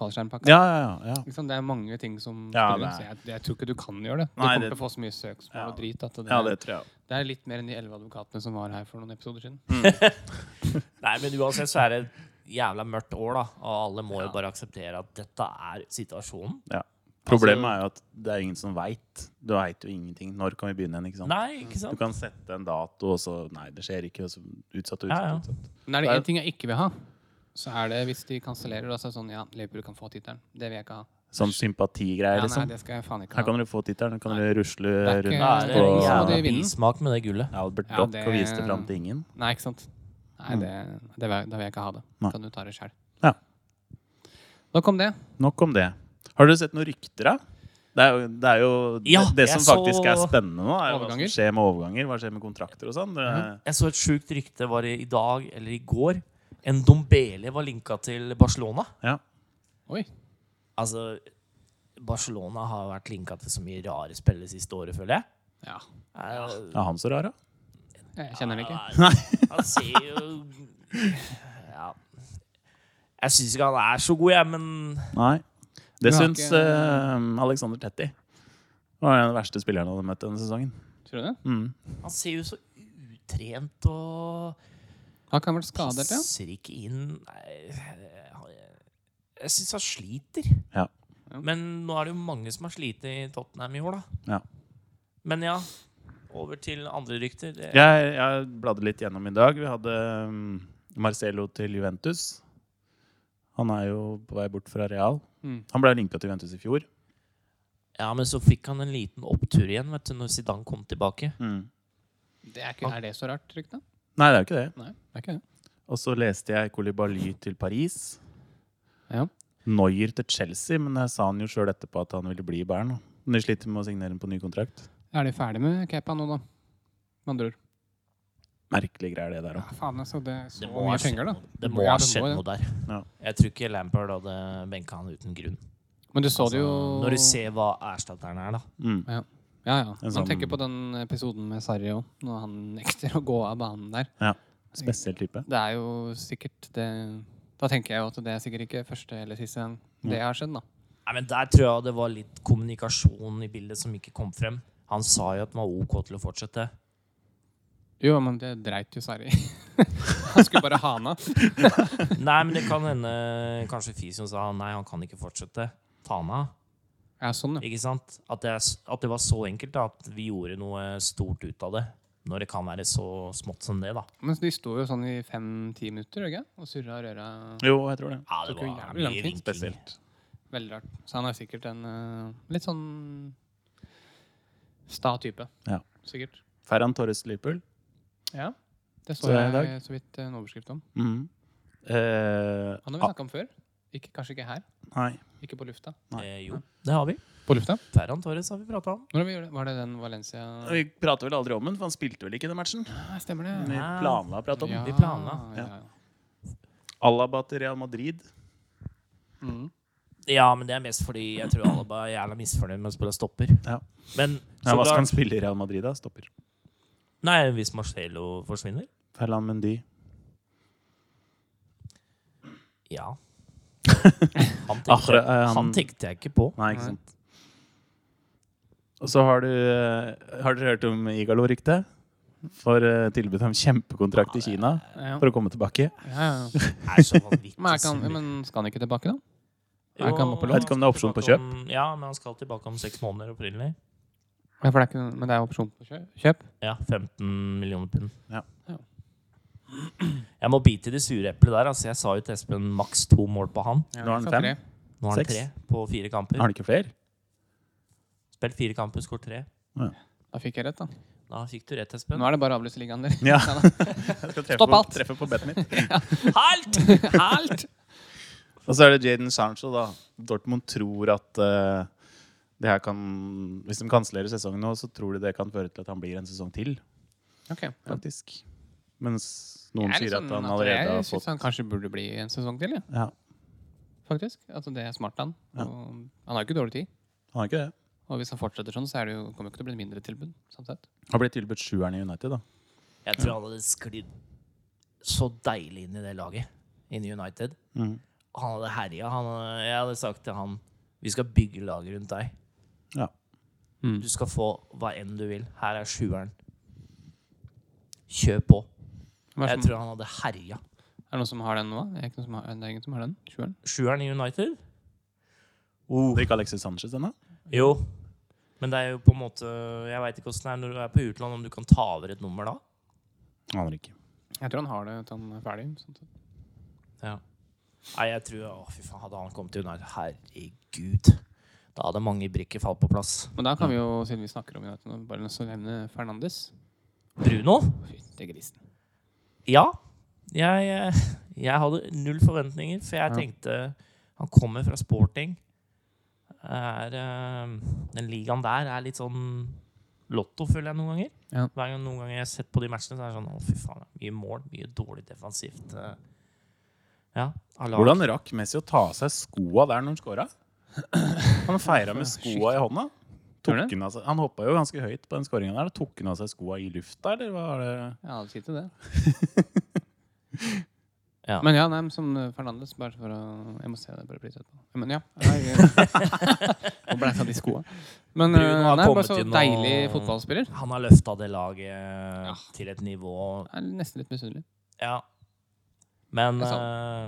Speaker 2: fallskjermpakka?
Speaker 1: Ja, ja, ja. ja.
Speaker 2: Liksom, det er mange ting som
Speaker 1: Ja,
Speaker 2: spiller inn,
Speaker 1: det
Speaker 2: så jeg, jeg tror ikke du kan gjøre det. Du
Speaker 1: Nei,
Speaker 2: kommer
Speaker 1: det-
Speaker 2: til å få så mye søksmål
Speaker 1: Ja.
Speaker 2: og drit at det,
Speaker 1: Ja, det tror jeg.
Speaker 2: det er litt mer enn de elleve advokatene som var her for noen episoder siden.
Speaker 1: Mm.
Speaker 3: Nei, men uansett så er det et jævla mørkt år, da. Og alle må jo
Speaker 2: Ja.
Speaker 3: bare akseptere at dette er situasjonen.
Speaker 1: Problemet
Speaker 2: Altså-
Speaker 1: er jo at det er ingen som veit. Du veit jo ingenting. Når kan vi begynne igjen? ikke sant?
Speaker 3: Nei, ikke
Speaker 1: Du
Speaker 3: sant?
Speaker 1: kan sette en dato, og så Nei, det skjer ikke. Og så utsatt og utsatt.
Speaker 3: Ja, ja.
Speaker 1: utsatt.
Speaker 2: Men
Speaker 1: Det
Speaker 2: er det
Speaker 1: er-
Speaker 2: én ting jeg ikke vil ha, så er det hvis de kansellerer. Da så er det sånn Ja, Liverpool kan få tittelen. Det vil jeg ikke ha.
Speaker 1: Sånn sympatigreier,
Speaker 2: Ja, nei,
Speaker 1: liksom.
Speaker 2: det skal jeg faen ikke
Speaker 1: Her
Speaker 2: ha.
Speaker 1: kan dere få tittelen. Her kan
Speaker 2: Nei.
Speaker 1: dere rusle
Speaker 2: er ikke-
Speaker 1: rundt
Speaker 3: Da er
Speaker 1: på
Speaker 3: det
Speaker 2: Nei, så må
Speaker 3: jævla
Speaker 2: de vinne.
Speaker 3: bismak med det gullet.
Speaker 1: Albert
Speaker 2: Ja,
Speaker 1: Dock
Speaker 2: det-
Speaker 1: og vise det fram til ingen.
Speaker 2: Nei, ikke sant. Nei,
Speaker 1: Mm.
Speaker 2: det, det vil, da vil jeg ikke ha det.
Speaker 1: Nei.
Speaker 2: Kan du ta det sjøl.
Speaker 1: Ja.
Speaker 2: Da kom det.
Speaker 1: Nok om det. Har dere sett noen rykter, da? Det er jo det, er jo
Speaker 3: Ja,
Speaker 1: det, det
Speaker 3: jeg
Speaker 1: som faktisk
Speaker 3: så
Speaker 1: er spennende nå, er jo hva
Speaker 2: overganger. Mhm.
Speaker 1: som skjer med overganger. Hva skjer med kontrakter og sånn. Det-
Speaker 3: Jeg så et sjukt rykte, var det i dag eller i går? En dombele var linka til Barcelona.
Speaker 1: Ja.
Speaker 2: Oi.
Speaker 3: Altså, Barcelona har vært linka til så mye rare spillere siste året, føler jeg.
Speaker 2: Ja.
Speaker 3: Eh,
Speaker 1: Er han så rar, da?
Speaker 2: Jeg kjenner det ikke.
Speaker 3: Nei. Eh, Han ser jo Ja. Jeg syns ikke han er så god, jeg, men
Speaker 1: Nei. Det
Speaker 2: Du har
Speaker 1: syns
Speaker 2: ikke-
Speaker 1: eh, Alexander Tetti. Det var den verste spilleren han hadde møtt denne sesongen.
Speaker 2: Tror du det?
Speaker 1: Mm.
Speaker 3: han ser jo så utrent og
Speaker 2: Har ikke han vært skadet, ja?
Speaker 3: passer ikke inn. Nei, jeg- jeg syns han sliter.
Speaker 1: Ja.
Speaker 3: Men nå er det jo mange som har slitt i Tottenham i år, da.
Speaker 1: Ja.
Speaker 3: Men ja, over til andre rykter. Det,
Speaker 1: Jeg, jeg bladde litt gjennom i dag. Vi hadde mm, Marcelo til Juventus. Han er jo på vei bort fra Real.
Speaker 2: Mm.
Speaker 1: Han ble linka til Juventus i fjor.
Speaker 3: Ja, men så fikk han en liten opptur igjen vet du, når Zidane kom tilbake.
Speaker 2: Det er, ikke, er det så rart, ryktet?
Speaker 1: Mm. Nei, det er jo ikke det.
Speaker 2: Nei, det er ikke det.
Speaker 1: Og så leste jeg Kolibaly til Paris.
Speaker 2: Ja.
Speaker 1: Neuer til Chelsea, men jeg sa han jo sjøl etterpå at han ville bli i Bern. da. Men de sliter med å signere ham på ny kontrakt.
Speaker 2: Er de ferdig med Kepa nå, da? Med andre ord.
Speaker 1: Merkelige greier, det der òg.
Speaker 2: Ja, faen, altså. Det er så
Speaker 3: Det må ha
Speaker 2: mye
Speaker 3: skjedd
Speaker 2: penger, da.
Speaker 3: noe- Det må
Speaker 2: Ja,
Speaker 3: ha
Speaker 2: det må
Speaker 3: skjedd
Speaker 2: det.
Speaker 3: noe der.
Speaker 1: Ja.
Speaker 3: Jeg tror ikke Lampard hadde benka han uten grunn.
Speaker 2: Men du så det jo
Speaker 3: Altså, Når du ser hva erstatteren er, da.
Speaker 1: Mm.
Speaker 2: Ja, ja. Man
Speaker 1: sånn-
Speaker 2: tenker på den episoden med Sarri òg, når han nekter å gå av banen der.
Speaker 1: Spesiell type.
Speaker 2: Det er jo sikkert det Da tenker jeg jo at det er sikkert ikke første eller siste gang det har skjedd, da.
Speaker 3: Nei, men Der tror jeg det var litt kommunikasjon i bildet som ikke kom frem. Han sa jo at han var OK til å fortsette.
Speaker 2: Jo, men det dreit jo Sarri. han skulle bare ha han av.
Speaker 3: Nei, men det kan hende kanskje fysioen sa nei, han kan ikke fortsette. Ta han av.
Speaker 2: Ja, sånn, ja.
Speaker 3: Ikke sant? At det, er s- at det var så enkelt da, at vi gjorde noe stort ut av det. når det kan være så smått som det, da.
Speaker 2: Men de sto jo sånn i fem-ti minutter ikke? og surra røra.
Speaker 1: Jo, jeg tror det.
Speaker 3: Ja, det
Speaker 2: Tok jo
Speaker 3: var
Speaker 2: jævlig
Speaker 3: mye
Speaker 2: lang tid.
Speaker 3: vinking.
Speaker 1: Spesielt.
Speaker 2: Veldig rart. Så han er sikkert en eh, litt sånn sta type.
Speaker 1: Ja.
Speaker 2: Sikkert.
Speaker 1: Ferran Torres Liverpool.
Speaker 2: Ja. Det
Speaker 1: Så
Speaker 2: så
Speaker 1: er det i
Speaker 2: jeg så vidt en overskrift om.
Speaker 1: Mhm. Eh,
Speaker 2: Han har vi
Speaker 1: ah,
Speaker 2: snakka om før. Ikke, kanskje ikke her.
Speaker 1: nei.
Speaker 2: Ikke på lufta.
Speaker 3: Eh, jo, det har vi.
Speaker 2: På lufta?
Speaker 3: Ferran Torres har vi prata om.
Speaker 2: Når har vi gjort det? Var det den Valencia
Speaker 1: Vi prater vel aldri om den, for han spilte vel ikke den matchen?
Speaker 2: Nei, Stemmer
Speaker 1: Vi
Speaker 2: det.
Speaker 3: Nei.
Speaker 1: planla å prate om den.
Speaker 3: Vi planla.
Speaker 2: Ja, ja.
Speaker 1: Alaba til Real Madrid.
Speaker 2: Mm.
Speaker 3: Ja, men det er mest fordi jeg tror Alaba er jævla misfornøyd med å spille stopper.
Speaker 1: Ja.
Speaker 3: Men
Speaker 1: Ja,
Speaker 3: så
Speaker 1: hva skal han
Speaker 3: klart
Speaker 1: spille i Real Madrid, da? Stopper.
Speaker 3: Nei, hvis Marcelo forsvinner
Speaker 1: Ferland Mendy.
Speaker 3: Ja. Han tenkte,
Speaker 1: Akkurat, eh,
Speaker 3: han
Speaker 1: han-
Speaker 3: tenkte jeg ikke på.
Speaker 1: Nei, ikke
Speaker 2: Nei.
Speaker 1: sant. Og så har du eh, Har dere hørt om Igalo-ryktet? For eh, tilbud om kjempekontrakt i Kina
Speaker 2: Ja,
Speaker 1: for å komme tilbake.
Speaker 2: ja, ja.
Speaker 3: Det er så vanvittig.
Speaker 2: Men, er ikke han,
Speaker 3: sur.
Speaker 2: men skal han ikke tilbake, da?
Speaker 3: Jo,
Speaker 2: er ikke han på lån?
Speaker 1: Vet ikke om det er opsjon på
Speaker 3: tilbake om- Ja, men han skal tilbake om seks måneder opprinnelig.
Speaker 2: Ja, for det er ikke, men det er opsjon på kjø- kjøp?
Speaker 3: Ja, 15 millioner pund.
Speaker 1: Ja.
Speaker 2: Ja.
Speaker 3: Jeg må bite i det sure eplet der. Altså, jeg sa jo til Espen maks to mål på han.
Speaker 2: Ja,
Speaker 1: Nå har han
Speaker 2: så
Speaker 1: fem.
Speaker 2: tre.
Speaker 3: Nå har han
Speaker 1: Seks.
Speaker 3: tre på fire kamper.
Speaker 1: Har han ikke flere?
Speaker 3: Spilt fire kamper, skåret tre.
Speaker 2: Da fikk jeg rett, da.
Speaker 3: Da fikk du rett, Espen.
Speaker 2: Nå er det bare å avlyse ligaen, dere.
Speaker 1: Ja.
Speaker 2: Neida.
Speaker 1: Jeg skal treffe
Speaker 2: Stopp
Speaker 1: på-
Speaker 2: alt.
Speaker 1: Treffe på bettet mitt.
Speaker 3: Halt! Halt!
Speaker 1: Og så er det Jaden Sancho, da. Dortmund tror at eh, det her kan Hvis de kansellerer sesongen nå, så tror de det kan føre til at han blir en sesong til,
Speaker 2: Ok. Ja.
Speaker 1: faktisk. Mens noen
Speaker 2: Jeg er litt
Speaker 1: sier at
Speaker 2: sånn
Speaker 1: han allerede
Speaker 2: Jeg
Speaker 1: har
Speaker 2: syns
Speaker 1: fått
Speaker 2: han kanskje burde bli en sesong til, ja,
Speaker 1: Ja,
Speaker 2: faktisk. Altså, det er smart av han. Og Han har jo ikke dårlig tid.
Speaker 1: han har ikke det.
Speaker 2: Og hvis han fortsetter sånn, så er det jo, kommer det ikke til å bli mindre tilbud. sånn sett.
Speaker 1: Har blitt tilbudt sjueren i United, da.
Speaker 3: Jeg tror han hadde sklidd så deilig inn i det laget, inn i United.
Speaker 1: Mhm.
Speaker 3: Han hadde herja. Han, hadde- jeg hadde sagt til han Vi skal bygge laget rundt deg.
Speaker 1: Ja.
Speaker 2: Mm.
Speaker 3: Du skal få hva enn du vil. Her er sjueren. Kjør på.
Speaker 2: Hva Er,
Speaker 3: Jeg
Speaker 2: det som-
Speaker 3: tror han hadde herja.
Speaker 2: er det noen som har den nå? Er det, ikke noen som har, det er ingen som har den? Sjueren?
Speaker 3: Sjueren i United?
Speaker 2: Oh.
Speaker 1: Det er ikke Alexis Sanchez ennå?
Speaker 3: Jo. Men det er jo på en måte Jeg veit ikke åssen det er når du er på utlandet, om du kan ta over et nummer da.
Speaker 1: Aner ikke.
Speaker 2: Jeg tror han har det til han er ferdig. sånn sett.
Speaker 3: Nei, jeg tror Å, fy faen, hadde han kommet til United Herregud. Da hadde mange brikker falt på plass.
Speaker 2: Men da kan vi jo, siden vi snakker om United, nå, bare nødt til å nevne Fernandes.
Speaker 3: Bruno?
Speaker 2: Fytti grisen.
Speaker 3: Ja. Jeg, eh, jeg hadde null forventninger, for jeg
Speaker 2: Ja.
Speaker 3: tenkte Han kommer fra sporting. Er, eh, den ligaen der er litt sånn lotto, føler jeg noen ganger.
Speaker 2: Ja.
Speaker 3: Hver gang noen ganger jeg har sett på de matchene, så er det sånn Å, fy faen. Mye mål, mye dårlig defensivt. eh, Ja. av lag.
Speaker 1: Hvordan rakk Messi å ta av seg skoa der når han scora? Han feira med skoa i hånda. Tok
Speaker 2: Gjorde det?
Speaker 1: han, av seg, han hoppa jo ganske høyt på den skåringa der. Tok han av seg skoa i lufta, eller hva er det?
Speaker 2: Ja, det sier til det.
Speaker 3: Ja.
Speaker 2: Men ja, nei, men som eh, Fernandes, bare for å Jeg må se det bare litt etterpå. Men ja. nei, eh, Hvor ble det av de skoa? Men eh,
Speaker 3: Bruno har
Speaker 2: nei, bare
Speaker 3: kommet
Speaker 2: så
Speaker 3: inn og-
Speaker 2: deilig fotballspiller.
Speaker 3: Han har løfta det laget eh, til et nivå
Speaker 2: Jeg er nesten litt misunnelig.
Speaker 3: Ja. Men
Speaker 2: Det er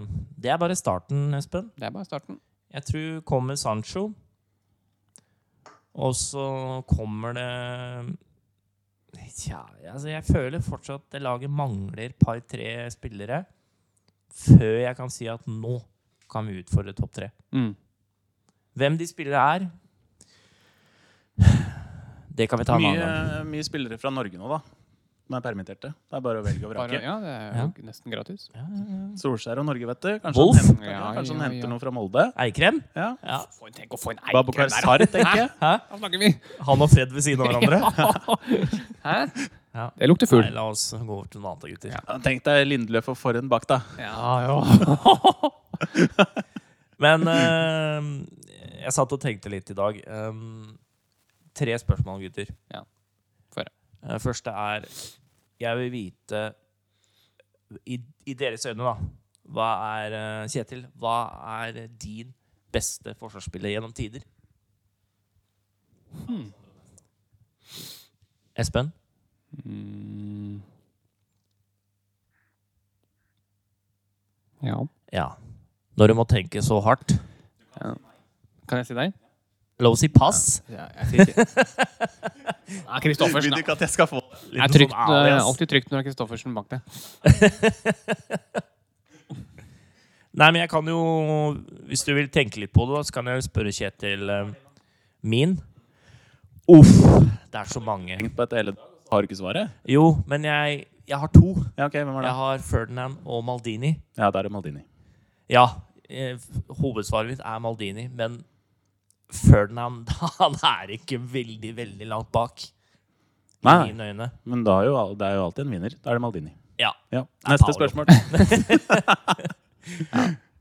Speaker 3: eh, det er bare starten, Espen.
Speaker 2: Det er bare starten.
Speaker 3: Jeg tror kommer Sancho. Og så kommer det Tja, altså jeg føler fortsatt det laget mangler par-tre spillere før jeg kan si at nå kan vi utfordre topp tre.
Speaker 2: Mm.
Speaker 3: Hvem de spillere er, det kan vi ta en annen
Speaker 1: Mye,
Speaker 3: gang.
Speaker 1: mye spillere fra Norge nå, da. De er permitterte. Det er bare å velge og
Speaker 2: Bare,
Speaker 1: vrake.
Speaker 2: ja, det er jo nesten gratis.
Speaker 3: Ja, ja, ja.
Speaker 1: Solskjær og Norge, vet du. Kanskje
Speaker 3: Wolf?
Speaker 1: han henter,
Speaker 2: Ja,
Speaker 1: kanskje han
Speaker 2: ja,
Speaker 1: henter
Speaker 2: ja.
Speaker 1: noe fra Molde.
Speaker 3: Eikrem?
Speaker 1: Ja.
Speaker 3: Ja.
Speaker 2: Tenk å få en
Speaker 1: Babukar Sar, tenker jeg.
Speaker 3: Hæ?
Speaker 2: Da snakker vi!
Speaker 3: Han og Fred ved siden av hverandre?
Speaker 2: Hæ?
Speaker 3: Ja.
Speaker 2: Det lukter
Speaker 3: Nei,
Speaker 2: fugl.
Speaker 3: la oss gå over til noe annet, gutter.
Speaker 1: Ja, Tenk deg Lindløf og Forhen bak, da.
Speaker 2: Ja, ja.
Speaker 3: Men eh, jeg satt og tenkte litt i dag. Um, tre spørsmål, gutter.
Speaker 2: Ja. Få høre.
Speaker 3: Eh, første er Jeg vil vite I, i deres øyne, da. Hva er eh, Kjetil, hva er din beste forsvarsspiller gjennom tider?
Speaker 2: Hmm.
Speaker 3: Espen?
Speaker 2: Mm. Ja.
Speaker 3: Ja. Når du må tenke så hardt.
Speaker 2: Kan jeg si deg?
Speaker 3: La oss si pass.
Speaker 2: Ja, jeg sier ikke Nei, Kristoffersen,
Speaker 1: Vil du
Speaker 2: da.
Speaker 1: ikke at jeg skal få
Speaker 2: Det
Speaker 3: sånn
Speaker 2: er trygt, det er alltid trygt når det er Kristoffersen bak deg.
Speaker 3: Nei, men jeg kan jo Hvis du vil tenke litt på det, da, så kan jeg spørre Kjetil eh, min. Uff, det er så mange.
Speaker 1: tenkt på dette hele dagen? Har du ikke svaret?
Speaker 3: Jo, men jeg, jeg har to.
Speaker 1: Ja, ok, hvem var det?
Speaker 3: Jeg har Ferdinand og Maldini.
Speaker 1: Ja, der er Maldini.
Speaker 3: Ja, eh, hovedsvaret mitt er Maldini, men Ferdinand han er ikke veldig, veldig langt bak. I
Speaker 1: Nei.
Speaker 3: mine øyne.
Speaker 1: Men da er jo, al- det er jo alltid en vinner. Da er det Maldini.
Speaker 3: Ja.
Speaker 1: Ja. Neste
Speaker 3: Paolo.
Speaker 1: spørsmål.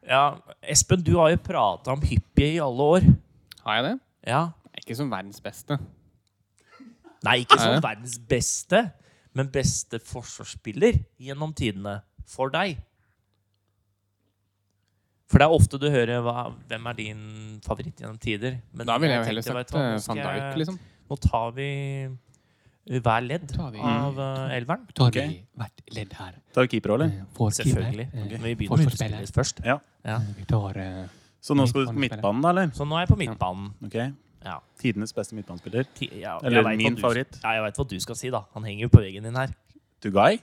Speaker 3: ja. Espen, du har jo prata om hippie i alle år.
Speaker 2: Har jeg det?
Speaker 3: Ja.
Speaker 2: Jeg er Ikke som verdens beste.
Speaker 3: Nei, ikke
Speaker 2: Nei.
Speaker 3: som verdens beste, men beste forsvarsspiller gjennom tidene for deg. For det er ofte du hører hva, 'Hvem er din favoritt gjennom tider?' Men
Speaker 2: Da ville jeg jo heller
Speaker 3: tenkte,
Speaker 2: sagt
Speaker 3: vet du hva,
Speaker 2: eh,
Speaker 3: nå skal
Speaker 2: van Dijk,
Speaker 3: jeg-
Speaker 2: liksom.
Speaker 3: Nå tar vi eh, hver ledd
Speaker 2: Tar vi- Mm.
Speaker 3: av eh, elveren.
Speaker 2: Da har
Speaker 1: vi
Speaker 2: hvert ledd her. eh,
Speaker 1: Tar vi keeper òg, eller?
Speaker 3: Selvfølgelig. Men vi begynner med
Speaker 2: Forsvarsspiller.
Speaker 3: utespillere først.
Speaker 1: Ja.
Speaker 2: Vi tar eh,
Speaker 1: Så nå skal du på midtbanen, da, eller?
Speaker 3: Så nå er jeg på midtbanen.
Speaker 1: Ok.
Speaker 3: Ja.
Speaker 1: Tidenes beste midtbanespiller.
Speaker 3: Ti- ja, jeg
Speaker 1: Eller
Speaker 3: vet hva
Speaker 1: min
Speaker 3: du-
Speaker 1: favoritt.
Speaker 3: Ja, jeg veit hva du skal si, da. Han henger jo på veggen din her.
Speaker 1: Tugay?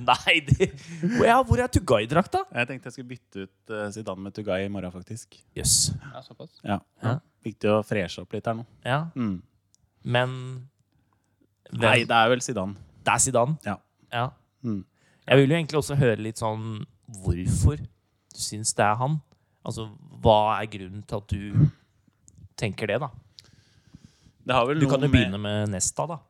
Speaker 3: Nei, det, ja, hvor er Tugay-drakta?
Speaker 1: Jeg tenkte jeg skulle bytte ut eh, Zidane med Tugay i morgen, faktisk.
Speaker 3: Jøss.
Speaker 2: ja, såpass.
Speaker 1: Ja.
Speaker 3: Ja.
Speaker 1: Viktig å freshe opp litt her nå.
Speaker 3: Ja.
Speaker 1: Mm.
Speaker 3: Men hvem,
Speaker 1: Nei, det er vel Zidane.
Speaker 3: det er Zidane.
Speaker 1: Ja.
Speaker 3: Ja.
Speaker 1: Mm.
Speaker 3: Jeg vil jo egentlig også høre litt sånn hvorfor du syns det er han. Altså, hva er grunnen til at du tenker det, da?
Speaker 1: Det har vel
Speaker 3: Du
Speaker 1: noe
Speaker 3: kan jo
Speaker 1: med-
Speaker 3: begynne med Nesta, da.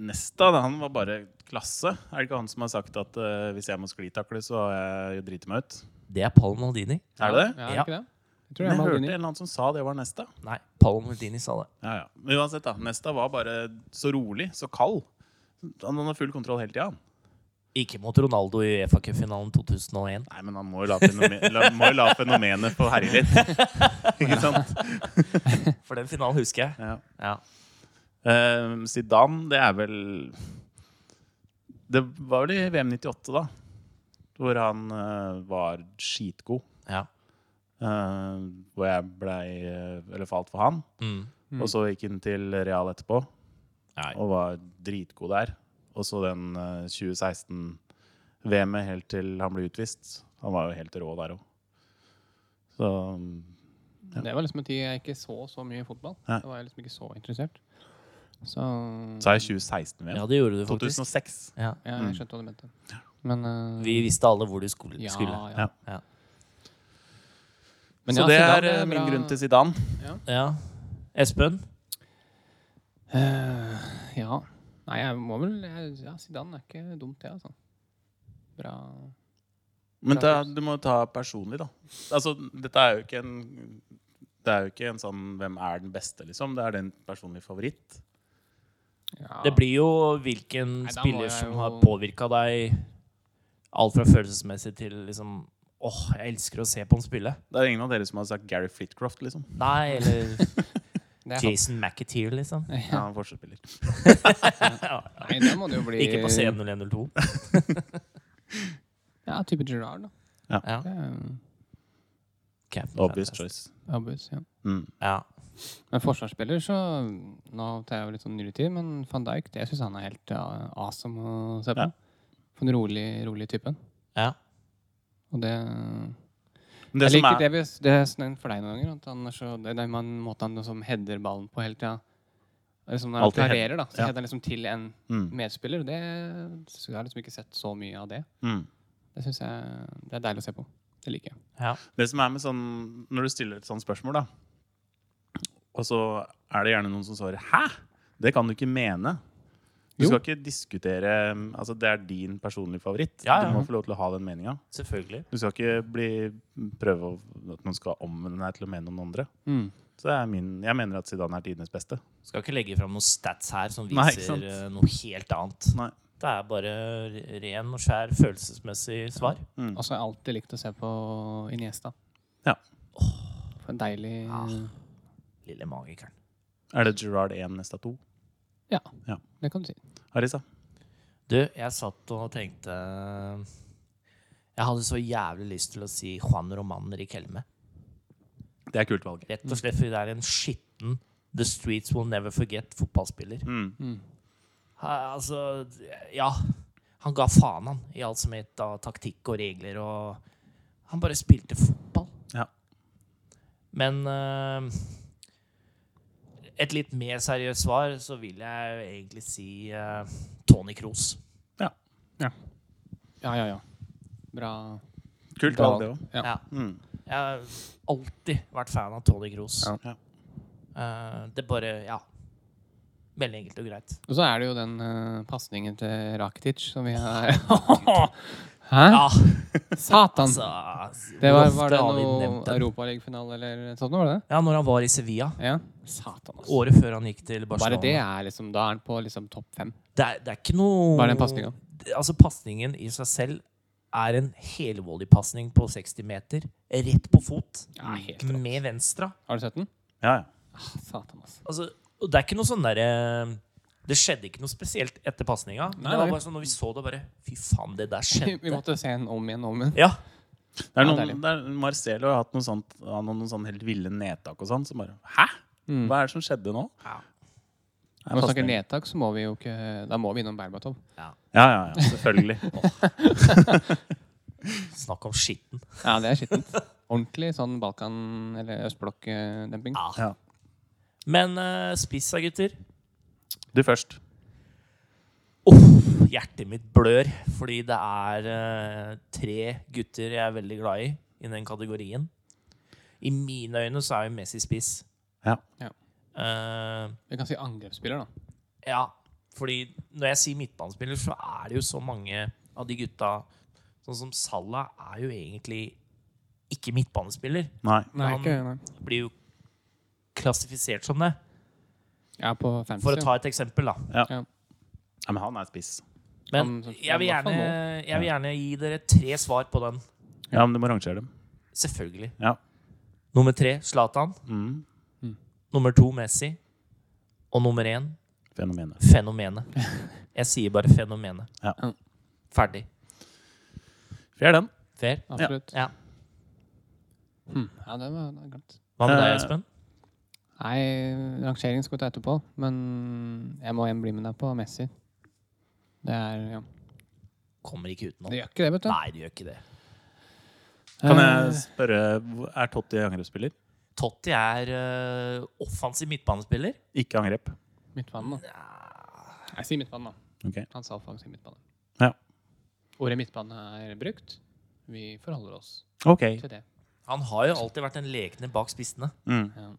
Speaker 1: Nesta, da, han var bare klasse. Er det ikke han som har sagt at eh, hvis jeg må sklitakle, så har jeg driter meg ut?
Speaker 3: Det er Paul Maldini.
Speaker 1: Er det det?
Speaker 2: Ja, er
Speaker 3: Ja.
Speaker 2: det ikke det? Jeg tror
Speaker 1: Men jeg
Speaker 2: det er
Speaker 1: hørte en
Speaker 2: Maldini.
Speaker 1: eller annen som sa det var Nesta.
Speaker 3: Nei, Paul Maldini sa det.
Speaker 1: Ja, ja. Men uansett, da. Nesta var bare så rolig, så kald. Han han har full kontroll hele tida.
Speaker 3: Ikke mot Ronaldo i FA-cupfinalen 2001.
Speaker 1: Nei, men han må jo la, fenomen, la, må jo la fenomenet få herje litt. Ikke sant?
Speaker 3: For den finalen husker jeg.
Speaker 1: Ja.
Speaker 3: Ja.
Speaker 1: Eh, Zidane, det er vel Det var vel i VM 98, da. Hvor han eh, var skitgod.
Speaker 3: ja.
Speaker 1: Eh, hvor jeg blei eh, Eller falt for han.
Speaker 3: Mm.
Speaker 1: Og så gikk han til Real etterpå
Speaker 3: Nei.
Speaker 1: og var dritgod der. Og så den eh, 2016-VM-et helt til han ble utvist. Han var jo helt rå der òg. Så mm,
Speaker 2: Det var liksom en tid jeg ikke så så mye fotball.
Speaker 1: Nei.
Speaker 2: Da var jeg liksom ikke så interessert. Så
Speaker 1: sa jeg 2016-VM.
Speaker 3: ja, det gjorde du faktisk.
Speaker 1: 2006.
Speaker 3: Ja.
Speaker 2: Ja, jeg skjønte hva du mente. Men eh,
Speaker 3: Vi visste alle hvor du skulle.
Speaker 2: ja,
Speaker 3: skulle.
Speaker 2: Ja.
Speaker 3: Ja.
Speaker 2: Men
Speaker 1: så
Speaker 2: ja,
Speaker 1: det
Speaker 2: Zidane
Speaker 1: er eh, min
Speaker 2: bra.
Speaker 1: grunn til Zidane.
Speaker 3: ja. Espen?
Speaker 2: Eh, ja. Nei, jeg må vel jeg- Ja, Zidane er ikke dumt, det, altså. Bra
Speaker 1: Men
Speaker 2: Bra
Speaker 1: ta,
Speaker 2: tips.
Speaker 1: du må ta personlig, da. Altså, dette er jo ikke en det er jo ikke en sånn 'hvem er den beste', liksom. Det er din personlige favoritt.
Speaker 2: ja.
Speaker 3: Det blir jo hvilken
Speaker 2: Nei, da må
Speaker 3: spiller
Speaker 2: jeg
Speaker 3: som
Speaker 2: jo-
Speaker 3: har påvirka deg alt fra følelsesmessig til liksom Åh, jeg elsker å se på han spille.
Speaker 1: Det er ingen av dere som har sagt Gary Flitcroft, liksom.
Speaker 3: Nei, eller
Speaker 2: det er sant.
Speaker 3: Jason McAteer, liksom.
Speaker 1: Ja, han er forsvarsspiller.
Speaker 2: Nei, det må det jo bli
Speaker 3: Ikke på C0102.
Speaker 2: Ja, type Gerard, da.
Speaker 3: Ja.
Speaker 2: Det er
Speaker 3: Captain
Speaker 1: Obvious
Speaker 3: Fantastic.
Speaker 1: choice.
Speaker 2: Obvious, ja.
Speaker 1: Mm.
Speaker 3: Ja.
Speaker 2: Men forsvarsspiller, så Nå tar jeg jo litt sånn nyere tid, men van Dijk det syns han er helt ja, awesome å se på.
Speaker 1: Ja.
Speaker 2: For den rolig, rolig typen.
Speaker 3: ja.
Speaker 2: Og det,
Speaker 1: Men det som
Speaker 2: Jeg liker
Speaker 1: er,
Speaker 2: det vi Det er sånn for deg noen ganger. At han er så, det er den man- måten han liksom header ballen på hele tida. Liksom når han
Speaker 1: Alltid head-
Speaker 2: klarerer, da, så
Speaker 1: ja.
Speaker 2: header han liksom til en
Speaker 1: Mm.
Speaker 2: medspiller. Det synes jeg jeg har liksom ikke sett så mye av det.
Speaker 1: mm.
Speaker 2: Det synes jeg det er deilig å se på. Det liker jeg.
Speaker 3: ja.
Speaker 1: Det som er med sånn Når du stiller et sånt spørsmål, da, og så er det gjerne noen som svarer 'hæ?' Det kan du ikke mene. Du
Speaker 2: Jo.
Speaker 1: skal ikke diskutere Altså, det er din personlige favoritt.
Speaker 3: Ja, ja.
Speaker 1: Du må få lov til å ha den meninga.
Speaker 3: Selvfølgelig.
Speaker 1: Du skal ikke bli, prøve å, at noen skal omvende deg til å mene om noen andre.
Speaker 2: Mm.
Speaker 1: Så det er min, jeg mener at Zidane er tidenes beste.
Speaker 3: Skal ikke legge fram noen stats her som
Speaker 1: Nei, ikke
Speaker 3: viser
Speaker 1: sant.
Speaker 3: eh, noe helt annet.
Speaker 1: Nei.
Speaker 3: Det er bare ren og skjær følelsesmessig svar.
Speaker 2: Og så har jeg alltid likt å se på Iniesta.
Speaker 1: Ja.
Speaker 2: For en deilig
Speaker 3: Lille magikeren.
Speaker 1: Er det Gerard 1, neste 2?
Speaker 2: Ja,
Speaker 1: Ja.
Speaker 2: det kan du si.
Speaker 1: Harisa?
Speaker 3: Du, jeg satt og tenkte eh, Jeg hadde så jævlig lyst til å si Juan Roman Riquelme.
Speaker 1: Det er kult valg.
Speaker 3: Rett og slett fordi det er en skitten The Streets Will Never Forget-fotballspiller.
Speaker 1: Mm.
Speaker 3: Altså, ja. Han ga faen, han, i alt som het av taktikk og regler og Han bare spilte fotball.
Speaker 1: Ja.
Speaker 3: Men eh, et litt mer seriøst svar, så vil jeg egentlig si eh, Tony Kroos.
Speaker 2: Ja, ja, ja. Bra.
Speaker 1: Kult
Speaker 2: bra.
Speaker 1: valg, det òg.
Speaker 2: Ja.
Speaker 3: Ja.
Speaker 1: Mm.
Speaker 3: Jeg har alltid vært fan av Tony Kroos.
Speaker 2: Ja.
Speaker 1: Ja.
Speaker 3: Eh, det bare Ja. Veldig enkelt og greit.
Speaker 2: Og så er det jo den uh, pasningen til Rakitic som vi har Hæ?
Speaker 3: Ja,
Speaker 2: Satan!
Speaker 3: altså
Speaker 2: Det var,
Speaker 3: hvor
Speaker 2: var
Speaker 3: ofte
Speaker 2: det
Speaker 3: har vi
Speaker 2: noe
Speaker 3: nevnt den?
Speaker 2: Europaligafinale eller noe sånt? Var det det?
Speaker 3: Ja, når han var i Sevilla.
Speaker 2: Ja. Satan, altså.
Speaker 3: Året før han gikk til Barcelona.
Speaker 2: Bare det er liksom Da er han på liksom topp fem.
Speaker 3: Det er, det er ikke noe
Speaker 2: Bare den pasningen.
Speaker 3: Det- Altså, pasningen i seg selv er en helvolley pasning på 60 meter, rett på fot,
Speaker 2: Ja, helt rått.
Speaker 3: med venstre.
Speaker 2: Har du sett den?
Speaker 1: ja, ja.
Speaker 2: Ah, Satan, altså.
Speaker 3: Altså, og det er ikke noe sånn derre Det skjedde ikke noe spesielt etter pasninga. Det
Speaker 2: Nei,
Speaker 3: var
Speaker 2: nei.
Speaker 3: bare sånn når vi så det, bare Fy faen, det der
Speaker 2: Vi
Speaker 3: skjedde.
Speaker 2: måtte se den om igjen og om igjen.
Speaker 3: Ja.
Speaker 1: Det er
Speaker 2: Ja,
Speaker 1: noen, det er, Marcelo har hatt noe sånt, han har noen sånn helt ville nedtak og sånn. Så bare Hæ? Hva er det som skjedde nå?
Speaker 3: Ja.
Speaker 1: Det er
Speaker 2: Når vi Mm. snakker
Speaker 1: fascinerende.
Speaker 2: nedtak, så må vi jo ikke Da må vi innom Berbatov.
Speaker 1: Ja, ja, ja, selvfølgelig.
Speaker 3: Snakk om skitten.
Speaker 2: Ja, det er skittent. Ordentlig sånn Balkan- eller østblokk-demping.
Speaker 3: Ja.
Speaker 1: Ja.
Speaker 3: Men uh, spissa, gutter.
Speaker 1: Du først.
Speaker 3: Uff, hjertet mitt blør fordi det er eh, tre gutter jeg er veldig glad i i den kategorien. I mine øyne så er jo Messi spiss.
Speaker 1: Ja.
Speaker 2: Ja.
Speaker 3: Eh,
Speaker 2: Vi kan si angrepsspiller, da.
Speaker 3: ja, fordi når jeg sier midtbanespiller, så er det jo så mange av de gutta Sånn som Salah er jo egentlig ikke midtbanespiller.
Speaker 1: Nei.
Speaker 2: Nei,
Speaker 3: Han-
Speaker 2: ikke, nei.
Speaker 3: Blir jo klassifisert som det.
Speaker 2: Ja, på fantasy.
Speaker 3: For å ta et eksempel, da.
Speaker 1: Ja, men han er spiss.
Speaker 3: Men
Speaker 2: Han-
Speaker 3: jeg vil
Speaker 2: han var
Speaker 3: gjerne,
Speaker 2: faen
Speaker 3: jeg vil gjerne gi dere tre svar på den.
Speaker 1: Ja, men du må rangere dem.
Speaker 3: Selvfølgelig.
Speaker 1: Ja.
Speaker 3: Nummer tre Zlatan.
Speaker 1: Mm.
Speaker 3: Nummer to Messi. Og nummer én
Speaker 1: Fenomenet.
Speaker 3: Fenomenet. Jeg sier bare Fenomenet.
Speaker 1: Ja.
Speaker 2: Ja.
Speaker 3: Ferdig.
Speaker 1: Fair den.
Speaker 3: Fair?
Speaker 2: Absolutt.
Speaker 3: Ja.
Speaker 2: Hm. Ja, det var det var glemt.
Speaker 3: Hva med deg,
Speaker 1: Eh,
Speaker 3: Espen?
Speaker 2: Nei, rangering skal vi ta etterpå, men jeg må igjen bli med deg på Messi. Det er Ja.
Speaker 3: Kommer ikke utenom.
Speaker 2: Det gjør ikke det, vet du.
Speaker 3: Nei, det gjør ikke det.
Speaker 1: Kan
Speaker 2: Eh,
Speaker 1: jeg spørre, hvor- er Totti angrepsspiller?
Speaker 3: Totti er eh, offensiv midtbanespiller.
Speaker 1: Ikke angrep.
Speaker 2: Eh, Midtbanen, da. Jeg sier midtbanen, da.
Speaker 1: Ok.
Speaker 2: Han sa faktisk midtbane.
Speaker 1: Ja.
Speaker 2: Ordet midtbane er brukt. Vi forholder oss
Speaker 1: Ok.
Speaker 2: til det.
Speaker 3: Han har jo alltid vært en lekne bak spissene.
Speaker 1: Mm.
Speaker 2: Ja.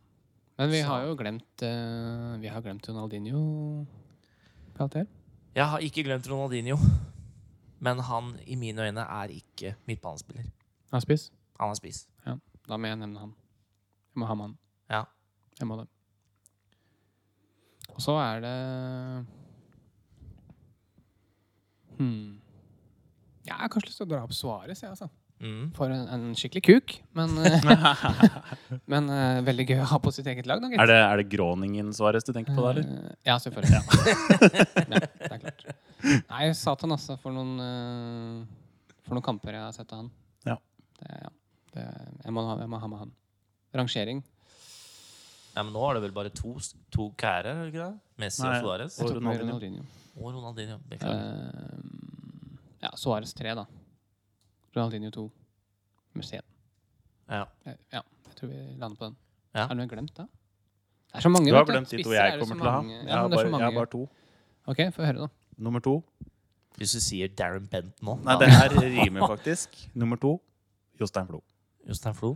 Speaker 2: Men vi
Speaker 3: Så-
Speaker 2: har jo glemt eh, Vi har glemt Ronaldinho. Karakter.
Speaker 3: Jeg har ikke glemt Ronaldinho, men han i mine øyne er ikke midtbanespiller.
Speaker 2: Han er spiss.
Speaker 3: Han er spiss.
Speaker 2: Da må jeg nevne han. Jeg må ha med han.
Speaker 3: Ja.
Speaker 2: Jeg må det. Og så er det hmm. Jeg har kanskje lyst til å dra opp svaret, jeg, altså.
Speaker 3: Mm.
Speaker 2: For en, en skikkelig kuk. Men, eh, men eh, veldig gøy å ha på sitt eget lag, da, gitt.
Speaker 1: Er det, er det Groningen Suarez du tenker på da, eller?
Speaker 2: Eh, Ja, selvfølgelig. ja, det er klart. Nei, satan altså, for noen, eh, for noen kamper jeg har sett av han.
Speaker 1: Ja.
Speaker 2: Det, ja. Det, jeg, må ha, jeg må ha med han. Rangering.
Speaker 3: Nei, men nå er det vel bare to, to kære, er det ikke det? Messi
Speaker 1: Nei.
Speaker 3: og Suárez.
Speaker 1: Og
Speaker 2: Jeg tok med
Speaker 1: Ronaldinho.
Speaker 2: Ronaldinho.
Speaker 3: Og Ronaldinho. Beklager.
Speaker 2: Eh, ja, Suárez 3, da. Ronaldinho 2. Museet.
Speaker 3: Ja.
Speaker 2: Eh, Ja, jeg tror vi lander på den.
Speaker 3: Ja.
Speaker 2: Er det noe jeg har glemt, da? Det er så mange.
Speaker 1: Du har
Speaker 2: vet
Speaker 1: glemt de to
Speaker 2: Spisser er
Speaker 1: jeg
Speaker 2: det så
Speaker 1: kommer til å ha.
Speaker 2: mange.
Speaker 1: Jeg
Speaker 2: Ja,
Speaker 1: har
Speaker 2: men det er
Speaker 1: bare,
Speaker 2: så
Speaker 1: jeg har
Speaker 2: mange.
Speaker 1: bare to.
Speaker 2: Ok, få høre, da.
Speaker 1: Nummer to
Speaker 3: Hvis du sier Darren Bent nå
Speaker 1: Nei,
Speaker 3: da-
Speaker 1: det her rimer faktisk. Nummer to Jostein Flo.
Speaker 3: Jostein Flo.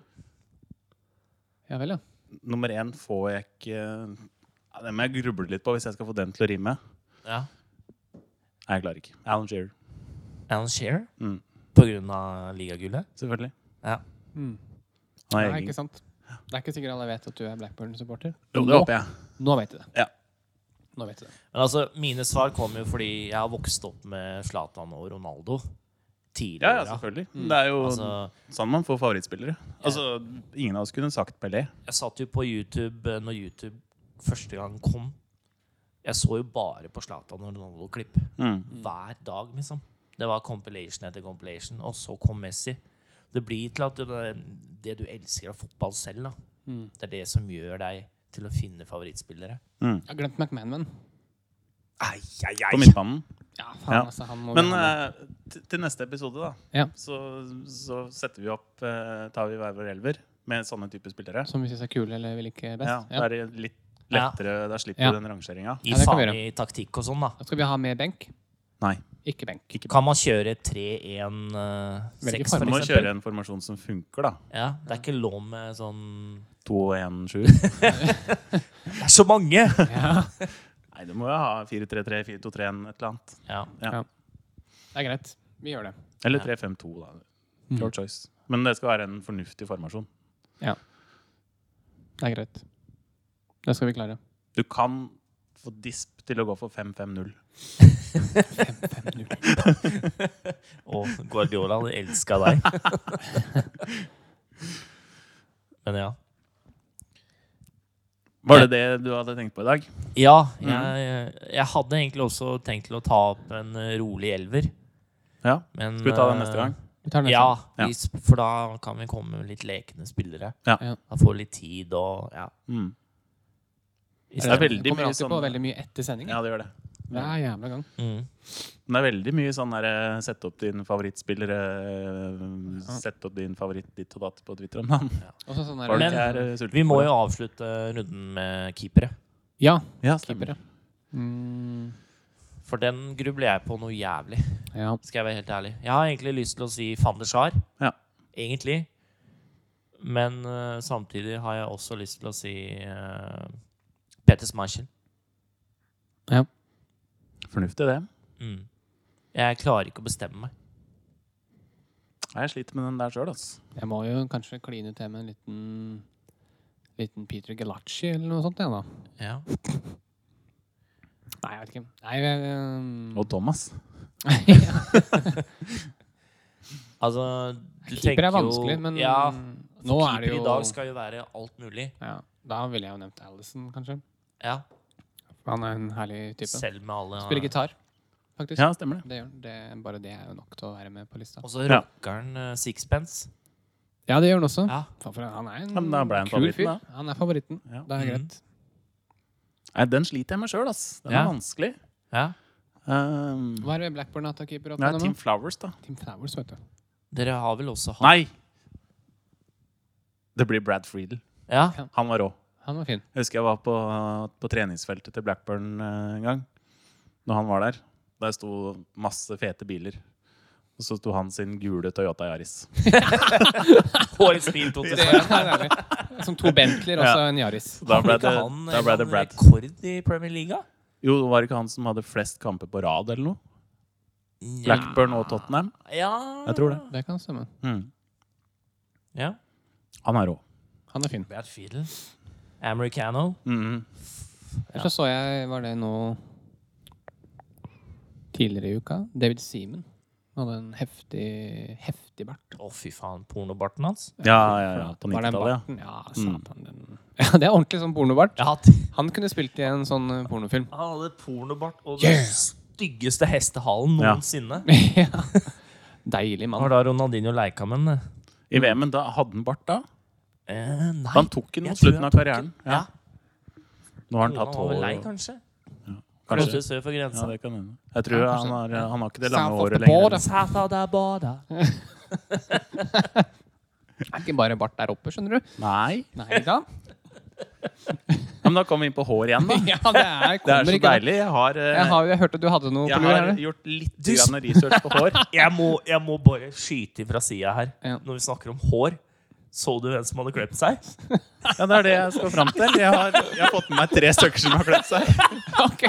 Speaker 2: Ja vel, ja.
Speaker 1: Nummer én får jeg ikke ja, Den må jeg gruble litt på hvis jeg skal få den til å rime.
Speaker 3: Ja.
Speaker 1: Nei, jeg klarer ikke. Alan Shearer,
Speaker 3: Alan Shearer.
Speaker 1: Mm.
Speaker 3: På grunn av ligagullet.
Speaker 1: selvfølgelig.
Speaker 3: Ja.
Speaker 2: Mm.
Speaker 1: Han er
Speaker 2: Ja,
Speaker 1: egen.
Speaker 2: ikke sant? Det er ikke sikkert alle vet at du er Blackburn-supporter.
Speaker 1: Jo, det
Speaker 2: Nå-
Speaker 1: håper jeg.
Speaker 2: Nå vet de det.
Speaker 1: Ja.
Speaker 2: Nå vet de det.
Speaker 3: Men altså, mine svar kommer jo fordi jeg har vokst opp med Zlatan og Ronaldo
Speaker 1: Ja, ja,
Speaker 3: tidligere.
Speaker 1: selvfølgelig. Det er jo
Speaker 3: altså,
Speaker 1: sånn man får favorittspillere. Altså, Ingen av oss kunne sagt Pelé.
Speaker 3: jeg satt jo på YouTube eh, når YouTube første gang kom. Jeg så jo bare på Zlatan og Ronaldo-klipp.
Speaker 1: Mm.
Speaker 3: hver dag, liksom. Det var compilation etter compilation, og så kom Messi. Det blir til at det, det du elsker av fotball selv, da,
Speaker 2: Mm.
Speaker 3: Det er det som gjør deg til å finne favorittspillere.
Speaker 1: Mm.
Speaker 2: Jeg har glemt McManaman.
Speaker 3: Ai, ai,
Speaker 1: På midtbanen.
Speaker 2: Ja, faen,
Speaker 1: Ja.
Speaker 2: altså. Han må vi
Speaker 1: Men
Speaker 2: ha med.
Speaker 1: eh, til- til neste episode, da,
Speaker 2: Ja.
Speaker 1: så, så setter vi opp eh, Tar vi hver vår elver med sånne typer spillere.
Speaker 2: Som vi syns er kule eller vi liker
Speaker 1: Ja,
Speaker 2: best. Ja,
Speaker 1: da er det litt lettere. Da slipper
Speaker 2: Ja.
Speaker 1: du den rangeringa.
Speaker 3: Gi
Speaker 2: Ja, det kan vi
Speaker 3: faen i taktikk og sånn, da.
Speaker 2: Da skal vi ha med benk.
Speaker 1: Nei.
Speaker 2: Ikke benk.
Speaker 3: Kan man kjøre 3-1-6,
Speaker 2: farge.
Speaker 1: Du må
Speaker 3: for
Speaker 1: kjøre
Speaker 3: eksempel?
Speaker 1: en formasjon som funker, da.
Speaker 3: Ja, det er ikke lov med sånn
Speaker 1: 2-1-7.
Speaker 3: Det er så mange!
Speaker 2: Ja,
Speaker 1: Nei, du må jo ha 4-3-3, 4-2-3-1, et eller annet.
Speaker 3: Ja.
Speaker 2: det er greit. Vi gjør det.
Speaker 1: Eller
Speaker 3: Ja.
Speaker 1: 3-5-2, da. Your choice. Men det skal være en fornuftig formasjon.
Speaker 2: Det er greit. Det skal vi klare.
Speaker 1: Du kan få disp til å gå for 5-5-0.
Speaker 3: Og Guardiola hadde elska deg. Men ja.
Speaker 1: Var det det du hadde tenkt på i dag?
Speaker 3: Ja, jeg, jeg hadde egentlig også tenkt til å ta opp en eh, rolig elver.
Speaker 1: Ja.
Speaker 3: Men, eh,
Speaker 1: Skal vi ta det neste gang?
Speaker 2: Vi tar den
Speaker 3: Ja,
Speaker 2: neste.
Speaker 1: Ja.
Speaker 3: hvis, for da kan vi komme med litt lekende spillere.
Speaker 1: Ja.
Speaker 2: Ja.
Speaker 3: Da får vi litt tid og ja.
Speaker 1: Mm.
Speaker 3: i
Speaker 1: Det er
Speaker 3: stedet.
Speaker 1: veldig
Speaker 2: kommer
Speaker 1: mye
Speaker 2: alltid
Speaker 1: sånn
Speaker 2: på veldig mye etter sending.
Speaker 1: Ja, det gjør det.
Speaker 2: Hver jævla gang.
Speaker 3: Mm.
Speaker 1: Men det er veldig mye sånn der eh, Sett opp din favorittspiller eh, Sett opp din favoritt ditt og datt på Twitter om dagen.
Speaker 2: Også sånn der,
Speaker 1: Var du
Speaker 3: Men-
Speaker 1: ikke her eh, sulten?
Speaker 3: Vi må
Speaker 1: for det?
Speaker 3: jo avslutte runden med keepere.
Speaker 2: Ja,
Speaker 1: Ja,
Speaker 2: keeper,
Speaker 1: stemmer.
Speaker 2: ja. Mm,
Speaker 3: For den grubler jeg på noe jævlig.
Speaker 2: ja.
Speaker 3: Skal jeg være helt ærlig. Jeg har egentlig lyst til å si van der Sar.
Speaker 1: Ja.
Speaker 3: Egentlig. Men eh, samtidig har jeg også lyst til å si eh, Peter Schmeichel.
Speaker 1: Fornuftig, det.
Speaker 3: Mm. Jeg klarer ikke å bestemme meg.
Speaker 1: Nei, Jeg sliter med den der sjøl, altså.
Speaker 2: Jeg må jo kanskje kline til med en liten Liten Peter Galacci eller noe sånt. Ja, da.
Speaker 3: Ja.
Speaker 2: Nei, jeg vet ikke. Nei, jeg, um,
Speaker 1: Og Thomas.
Speaker 3: Altså, du
Speaker 2: Keeper
Speaker 3: tenker
Speaker 2: er vanskelig,
Speaker 3: jo,
Speaker 2: men
Speaker 3: ja, altså,
Speaker 2: nå er det
Speaker 3: Keeper
Speaker 2: jo
Speaker 3: i dag skal jo være alt mulig.
Speaker 2: ja, Da ville jeg jo nevnt Allison, kanskje.
Speaker 3: Ja.
Speaker 2: Han er en herlig type.
Speaker 3: Selv med alle
Speaker 2: Spiller gitar, faktisk.
Speaker 1: Ja, stemmer det.
Speaker 2: Det gjør han. det, bare det er jo nok til å være med på lista.
Speaker 3: Og så rocker han eh, sixpence.
Speaker 2: Ja, det gjør han også.
Speaker 3: Ja.
Speaker 2: Faen, for han er
Speaker 1: Ja, men da ble han
Speaker 2: en kul
Speaker 1: favoritten,
Speaker 2: fyr.
Speaker 1: da.
Speaker 2: Han er favoritten.
Speaker 1: Ja.
Speaker 2: Det er
Speaker 3: Mhm.
Speaker 2: greit.
Speaker 1: Nei, den sliter jeg med sjøl, ass. Den
Speaker 3: Ja.
Speaker 1: er vanskelig.
Speaker 3: ja.
Speaker 1: Um,
Speaker 2: Hva er det Blackburn har tatt keeper opp
Speaker 1: det er
Speaker 2: med nå?
Speaker 1: Team Flowers, da.
Speaker 2: Tim Flowers, vet du.
Speaker 3: Dere har vel også hatt
Speaker 1: Nei! Det blir Brad Friedel.
Speaker 3: Ja.
Speaker 1: Han var rå.
Speaker 2: Han var fin.
Speaker 1: Jeg husker jeg var på, på treningsfeltet til Blackburn eh, en gang. Når han var der. Der sto masse fete biler. Og så sto han sin gule Toyota Yaris.
Speaker 3: Årets bil 2000.
Speaker 2: Som to altså Bentleyer og så en Yaris.
Speaker 1: Så Da ble
Speaker 3: Hadde
Speaker 1: det,
Speaker 3: ikke han
Speaker 1: da ble det
Speaker 3: en
Speaker 1: Brad.
Speaker 3: rekord i Premier League?
Speaker 1: Jo, var det ikke han som hadde flest kamper på rad eller noe? Blackburn og Tottenham?
Speaker 3: Ja.
Speaker 1: Jeg tror det.
Speaker 2: Det kan stemme.
Speaker 3: Ah.
Speaker 1: Mm.
Speaker 3: Ja.
Speaker 1: Han er rå.
Speaker 2: Han er fin.
Speaker 3: Brad Fiedel. Americano.
Speaker 1: Mm.
Speaker 2: Ellers så så jeg, var det nå tidligere i uka, David Seaman. Han hadde en heftig, heftig bart.
Speaker 3: Å, fy faen. Pornobarten hans.
Speaker 1: Ja, ja, ja. På
Speaker 2: Var den
Speaker 1: 90-tallet, ja. Mm.
Speaker 2: barten? Ja, satan. Den. Ja, det er ordentlig sånn pornobart.
Speaker 3: Ja, t-
Speaker 2: Han kunne spilt i en sånn eh, pornofilm.
Speaker 3: han hadde pornobart og den
Speaker 2: Yeah.
Speaker 3: styggeste hestehalen
Speaker 1: Ja.
Speaker 3: noensinne.
Speaker 2: Ja. Deilig
Speaker 3: Det var
Speaker 2: mann.
Speaker 3: da Ronaldinho Leikamen eh,
Speaker 1: I VM-en da hadde han bart da.
Speaker 3: Nei.
Speaker 1: Han tok den
Speaker 3: jeg
Speaker 1: mot
Speaker 3: tror
Speaker 1: slutten
Speaker 3: han
Speaker 1: av
Speaker 3: tok
Speaker 1: karrieren.
Speaker 3: den. Ja.
Speaker 1: Nå har han
Speaker 3: Kona
Speaker 1: tatt
Speaker 3: var vel lei,
Speaker 1: håret.
Speaker 3: kanskje.
Speaker 1: Kanskje.
Speaker 3: Kanskje sør for
Speaker 1: Ja,
Speaker 3: grensa.
Speaker 1: det kan hende. Jeg tror
Speaker 2: Ja,
Speaker 1: han,
Speaker 2: kanskje.
Speaker 1: har, han har ikke det
Speaker 2: South
Speaker 1: lange
Speaker 2: of the
Speaker 1: håret lenger.
Speaker 2: border.
Speaker 3: South of the border.
Speaker 2: Det er ikke bare bart der oppe, skjønner du.
Speaker 1: Nei.
Speaker 2: Nei da.
Speaker 1: Men da kom vi inn på hår igjen, da.
Speaker 2: Ja, det er,
Speaker 1: Det er
Speaker 2: kommer
Speaker 1: så
Speaker 2: ikke
Speaker 1: deilig. Jeg har, eh,
Speaker 2: Jeg, har, jeg hørte at du hadde noe
Speaker 1: jeg
Speaker 2: på lur
Speaker 1: har
Speaker 2: her.
Speaker 1: gjort litt
Speaker 3: Du s-
Speaker 1: grann research på hår.
Speaker 3: jeg, må, jeg må bare skyte fra sida her.
Speaker 2: Ja.
Speaker 3: Når vi snakker om hår, så du hvem som hadde klept seg?
Speaker 1: Ja, Det er det jeg skal fram til. Jeg har, jeg har fått med meg tre stykker som har kledd seg.
Speaker 2: Ok,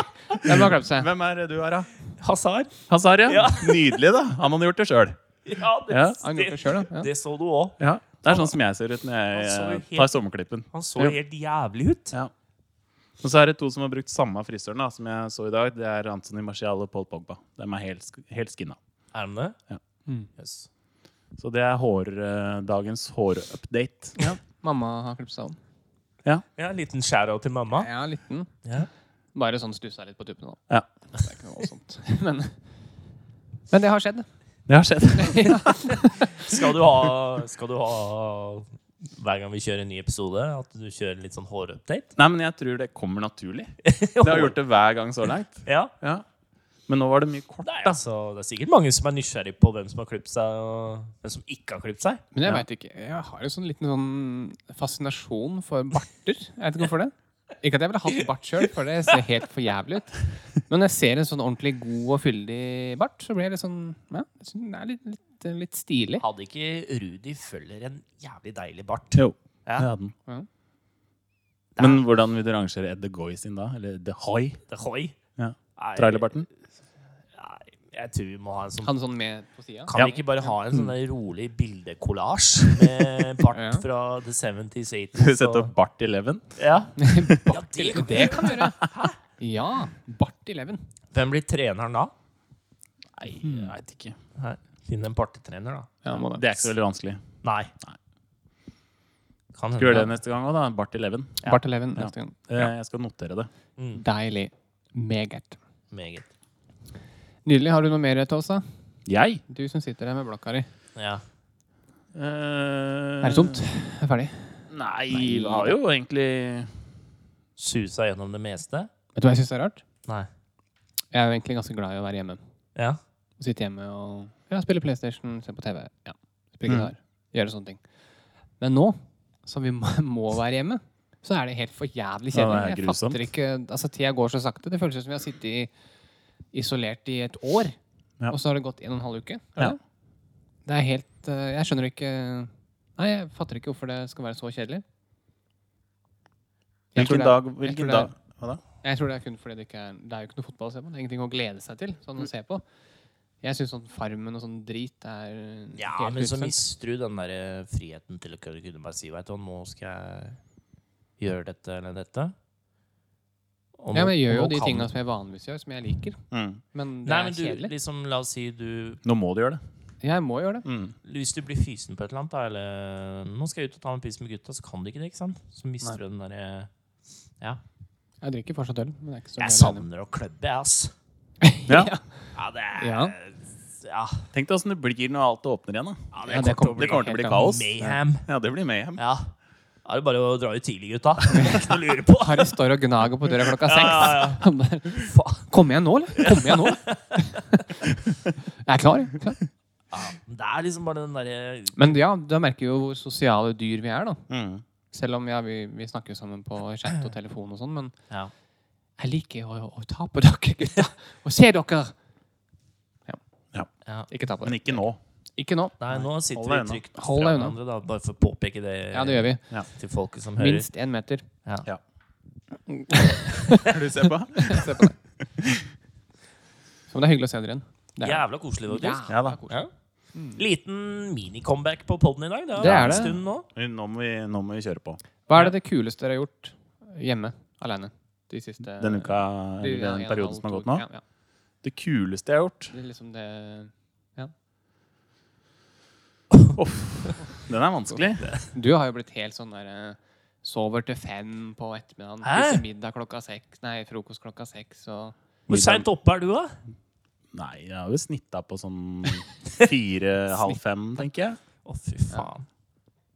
Speaker 2: Den må ha glemt seg.
Speaker 1: Hvem er det du har, da?
Speaker 3: Hazar.
Speaker 1: Hazar, ja.
Speaker 3: Ja.
Speaker 1: Nydelig, da. Han hadde gjort det sjøl.
Speaker 3: Ja, det,
Speaker 1: Ja.
Speaker 2: Han gjorde det sjøl, da. Ja.
Speaker 3: det så du òg.
Speaker 1: Ja. Det er sånn som jeg ser ut når jeg
Speaker 3: Han så jo
Speaker 1: eh,
Speaker 3: helt-
Speaker 1: tar sommerklippen.
Speaker 3: Han så
Speaker 1: Ja.
Speaker 3: helt jævlig ut.
Speaker 1: Ja. Og så er det to som har brukt samme frisøren da, som jeg så i dag. Det er Anthony Marcial og Paul Pogba. De er helt, sk- helt skinna.
Speaker 3: Er han det?
Speaker 1: Ja.
Speaker 2: Mm.
Speaker 3: Yes.
Speaker 1: Så det er hår, eh, dagens hårupdate.
Speaker 2: Mamma har klippet seg om.
Speaker 3: Ja, en liten skjæra til mamma.
Speaker 2: Jeg er liten.
Speaker 3: Ja.
Speaker 2: Bare sånn stussa litt på tuppene, da.
Speaker 1: Ja.
Speaker 2: Det er ikke noe voldsomt. Men, men det har skjedd.
Speaker 1: Det har skjedd.
Speaker 2: Ja.
Speaker 3: Skal, du ha, skal du ha hver gang vi kjører en ny episode, at du kjører litt sånn hårupdate?
Speaker 1: Nei, men jeg tror det kommer naturlig. Det har gjort det hver gang så langt.
Speaker 3: Ja.
Speaker 1: Ja. Men nå var det mye kort,
Speaker 3: Nei,
Speaker 1: da.
Speaker 3: altså, det er sikkert mange som er nysgjerrig på hvem som har klippet seg, og hvem som ikke har klippet seg.
Speaker 2: Men jeg
Speaker 1: Ja.
Speaker 2: vet ikke. Jeg har jo sånn liten sånn fascinasjon for barter. Jeg vet ikke hvorfor det. Ikke at jeg ville hatt bart sjøl, for det ser helt for jævlig ut. Men når jeg ser en sånn ordentlig god og fyldig bart, så blir jeg litt sånn Ja, jeg synes den er litt, litt, litt stilig.
Speaker 3: Hadde ikke Rudi Føller en jævlig deilig bart?
Speaker 1: Jo,
Speaker 3: Ja.
Speaker 1: det hadde den.
Speaker 2: Ja.
Speaker 1: Men hvordan vil du rangere Ed The Goy sin da? Eller The Hoi?
Speaker 3: Det er hoi.
Speaker 1: Ja.
Speaker 3: Nei,
Speaker 1: Trailerbarten?
Speaker 3: Nei, jeg tror vi må ha en sånn
Speaker 2: Han sånn med på sida.
Speaker 3: Kan vi ikke bare ha en sånn der rolig bildekollasj med bart
Speaker 2: Ja.
Speaker 3: fra The 70s, 80s?
Speaker 1: Skal vi sette
Speaker 3: og-
Speaker 1: opp Bart Eleven?
Speaker 3: Ja. ja, det
Speaker 2: Det, det kan du gjøre. Ja. Bart i leven.
Speaker 3: Hvem blir treneren da?
Speaker 1: Nei,
Speaker 2: Hmm.
Speaker 1: jeg veit ikke.
Speaker 3: Nei, Finn en partetrener, da.
Speaker 1: Det er ikke så veldig vanskelig.
Speaker 3: Nei. Kan
Speaker 1: Skal vi gjøre det
Speaker 3: hende.
Speaker 1: neste gang òg, da. Bart Eleven.
Speaker 2: Bart i leven
Speaker 1: Ja.
Speaker 2: neste gang.
Speaker 1: Eh, Jeg skal notere det.
Speaker 2: Deilig. Meget.
Speaker 3: Meget.
Speaker 2: Nydelig. Har du noe mer til oss, da?
Speaker 1: Jeg? Eh,
Speaker 2: Du som sitter der med blokka di.
Speaker 3: Ja.
Speaker 2: Er det tomt? Jeg er ferdig.
Speaker 1: Nei, vi har jo egentlig
Speaker 3: Susa gjennom det meste?
Speaker 2: Vet du hva jeg syns er rart?
Speaker 3: Nei.
Speaker 2: Jeg er jo egentlig ganske glad i å være hjemme.
Speaker 3: Ja.
Speaker 2: Sitte hjemme og ja, spille PlayStation, se på TV, ja. spille
Speaker 1: Mm.
Speaker 2: gitar, gjøre sånne ting. Men nå som vi må, må være hjemme, så er det helt for jævlig
Speaker 1: Ja, det er
Speaker 2: kjedelig. Jeg
Speaker 1: grusomt.
Speaker 2: fatter ikke, altså Tida går så sakte. Det føles som vi har sittet i, isolert i et år,
Speaker 1: Ja.
Speaker 2: og så har det gått en og en halv uke. Er det
Speaker 1: Ja.
Speaker 2: det? Det er helt eh, Jeg skjønner ikke Nei, jeg fatter ikke hvorfor det skal være så kjedelig. Jeg tror
Speaker 1: Hvilken
Speaker 2: det er-
Speaker 1: dag
Speaker 2: jeg tror
Speaker 1: Hvilken
Speaker 2: det er-
Speaker 1: dag Hva da?
Speaker 2: jeg tror det er kun fordi det ikke er Det er jo ikke noe fotball å se på. Det er ingenting å glede seg til. Sånn å se på Jeg syns sånn Farmen og sånn drit er
Speaker 3: Ja,
Speaker 2: helt
Speaker 3: men så
Speaker 2: utsunt.
Speaker 3: mister du den der eh, friheten til å kunne kunne bare si Vet du hva, nå skal jeg gjøre dette eller dette. Og
Speaker 2: Ja,
Speaker 3: nå-
Speaker 2: men jeg gjør
Speaker 3: og
Speaker 2: jo
Speaker 3: nå
Speaker 2: de
Speaker 3: kan-
Speaker 2: tinga som jeg vanligvis gjør, som jeg liker.
Speaker 1: Mm.
Speaker 2: Men det
Speaker 3: Nei, men
Speaker 2: er
Speaker 3: du,
Speaker 2: kjedelig.
Speaker 3: liksom, la oss si du
Speaker 1: Nå må du gjøre det.
Speaker 2: Jeg må gjøre det.
Speaker 1: Mm.
Speaker 3: Hvis du blir fysen på et eller annet, da, eller Nå skal jeg ut og ta en pils med gutta, så kan du ikke det, ikke sant? Så mister du den eh, derre Ja.
Speaker 2: Jeg drikker fortsatt øl. Men det er ikke så
Speaker 3: Jeg
Speaker 2: veldig
Speaker 3: savner å klubbe, jeg, ass.
Speaker 1: Ja.
Speaker 3: Ja, det er
Speaker 2: Ja.
Speaker 3: Ja,
Speaker 1: Tenk deg åssen det blir når alt åpner igjen. da.
Speaker 3: ja,
Speaker 2: Ja,
Speaker 3: det
Speaker 2: det
Speaker 3: kommer til
Speaker 2: kommer-
Speaker 3: å
Speaker 1: Det
Speaker 3: bli
Speaker 1: kommer til å bli
Speaker 2: helt
Speaker 1: kaos.
Speaker 3: mayhem.
Speaker 1: Ja, det blir mayhem.
Speaker 3: Ja. Da er det bare å dra ut tidlig, gutta. Det er Ikke noe å lure på.
Speaker 2: Harry står og gnager på døra klokka seks.
Speaker 3: Ja, ja,
Speaker 2: Han bare,
Speaker 3: Faen.
Speaker 2: Kom igjen nå, eller? Kom igjen nå. eller?» Jeg er klar. jeg. klar.
Speaker 3: Ja, men det er liksom bare den derre
Speaker 2: Men ja, da merker vi jo hvor sosiale dyr vi er, da.
Speaker 1: Mm.
Speaker 2: Selv om ja, vi, vi snakker jo sammen på chat og telefon og sånn, men
Speaker 3: ja.
Speaker 2: Jeg liker å, å ta på dere, gutta. Og se dere!
Speaker 3: ja.
Speaker 2: Ikke ta på
Speaker 1: Men
Speaker 2: dere.
Speaker 1: ikke nå.
Speaker 2: Ikke nå.
Speaker 3: Nei, nå sitter
Speaker 1: Hold
Speaker 3: vi
Speaker 1: deg unna.
Speaker 3: trygt fra
Speaker 2: Hold deg unna.
Speaker 3: hverandre, da, bare for å påpeke det,
Speaker 2: Ja, det gjør vi.
Speaker 3: til folket som hører.
Speaker 2: Minst én meter.
Speaker 3: Ja.
Speaker 1: Ja. Skal du se på?
Speaker 2: Se på det. Så men det er hyggelig å se dere igjen. Det er,
Speaker 3: Jævla koselig, faktisk.
Speaker 1: Ja da.
Speaker 2: koselig.
Speaker 3: Liten mini-comeback på podden i dag. Det har
Speaker 2: Det er
Speaker 3: vært en
Speaker 2: det.
Speaker 3: stund nå.
Speaker 1: Nå må vi, nå må vi kjøre på.
Speaker 2: Hva er det det kuleste dere har gjort hjemme alene de siste
Speaker 1: Den uka,
Speaker 2: de-
Speaker 1: eller
Speaker 2: ja,
Speaker 1: den
Speaker 2: Eh, en,
Speaker 1: perioden
Speaker 2: halv,
Speaker 1: som har
Speaker 2: to
Speaker 1: gått nå.
Speaker 2: uker. Ja, ja.
Speaker 1: Det kuleste jeg har gjort
Speaker 2: Det er liksom det ja.
Speaker 1: Den er vanskelig.
Speaker 2: Du har jo blitt helt sånn der eh, Sover til fem på ettermiddagen,
Speaker 3: Hæ?
Speaker 2: spiser middag klokka seks, nei, frokost klokka seks og
Speaker 3: Hvor seint oppe er du, da?
Speaker 1: Nei, jeg har jo snitta på sånn fire-halv fem, tenker jeg.
Speaker 3: Å, fy faen.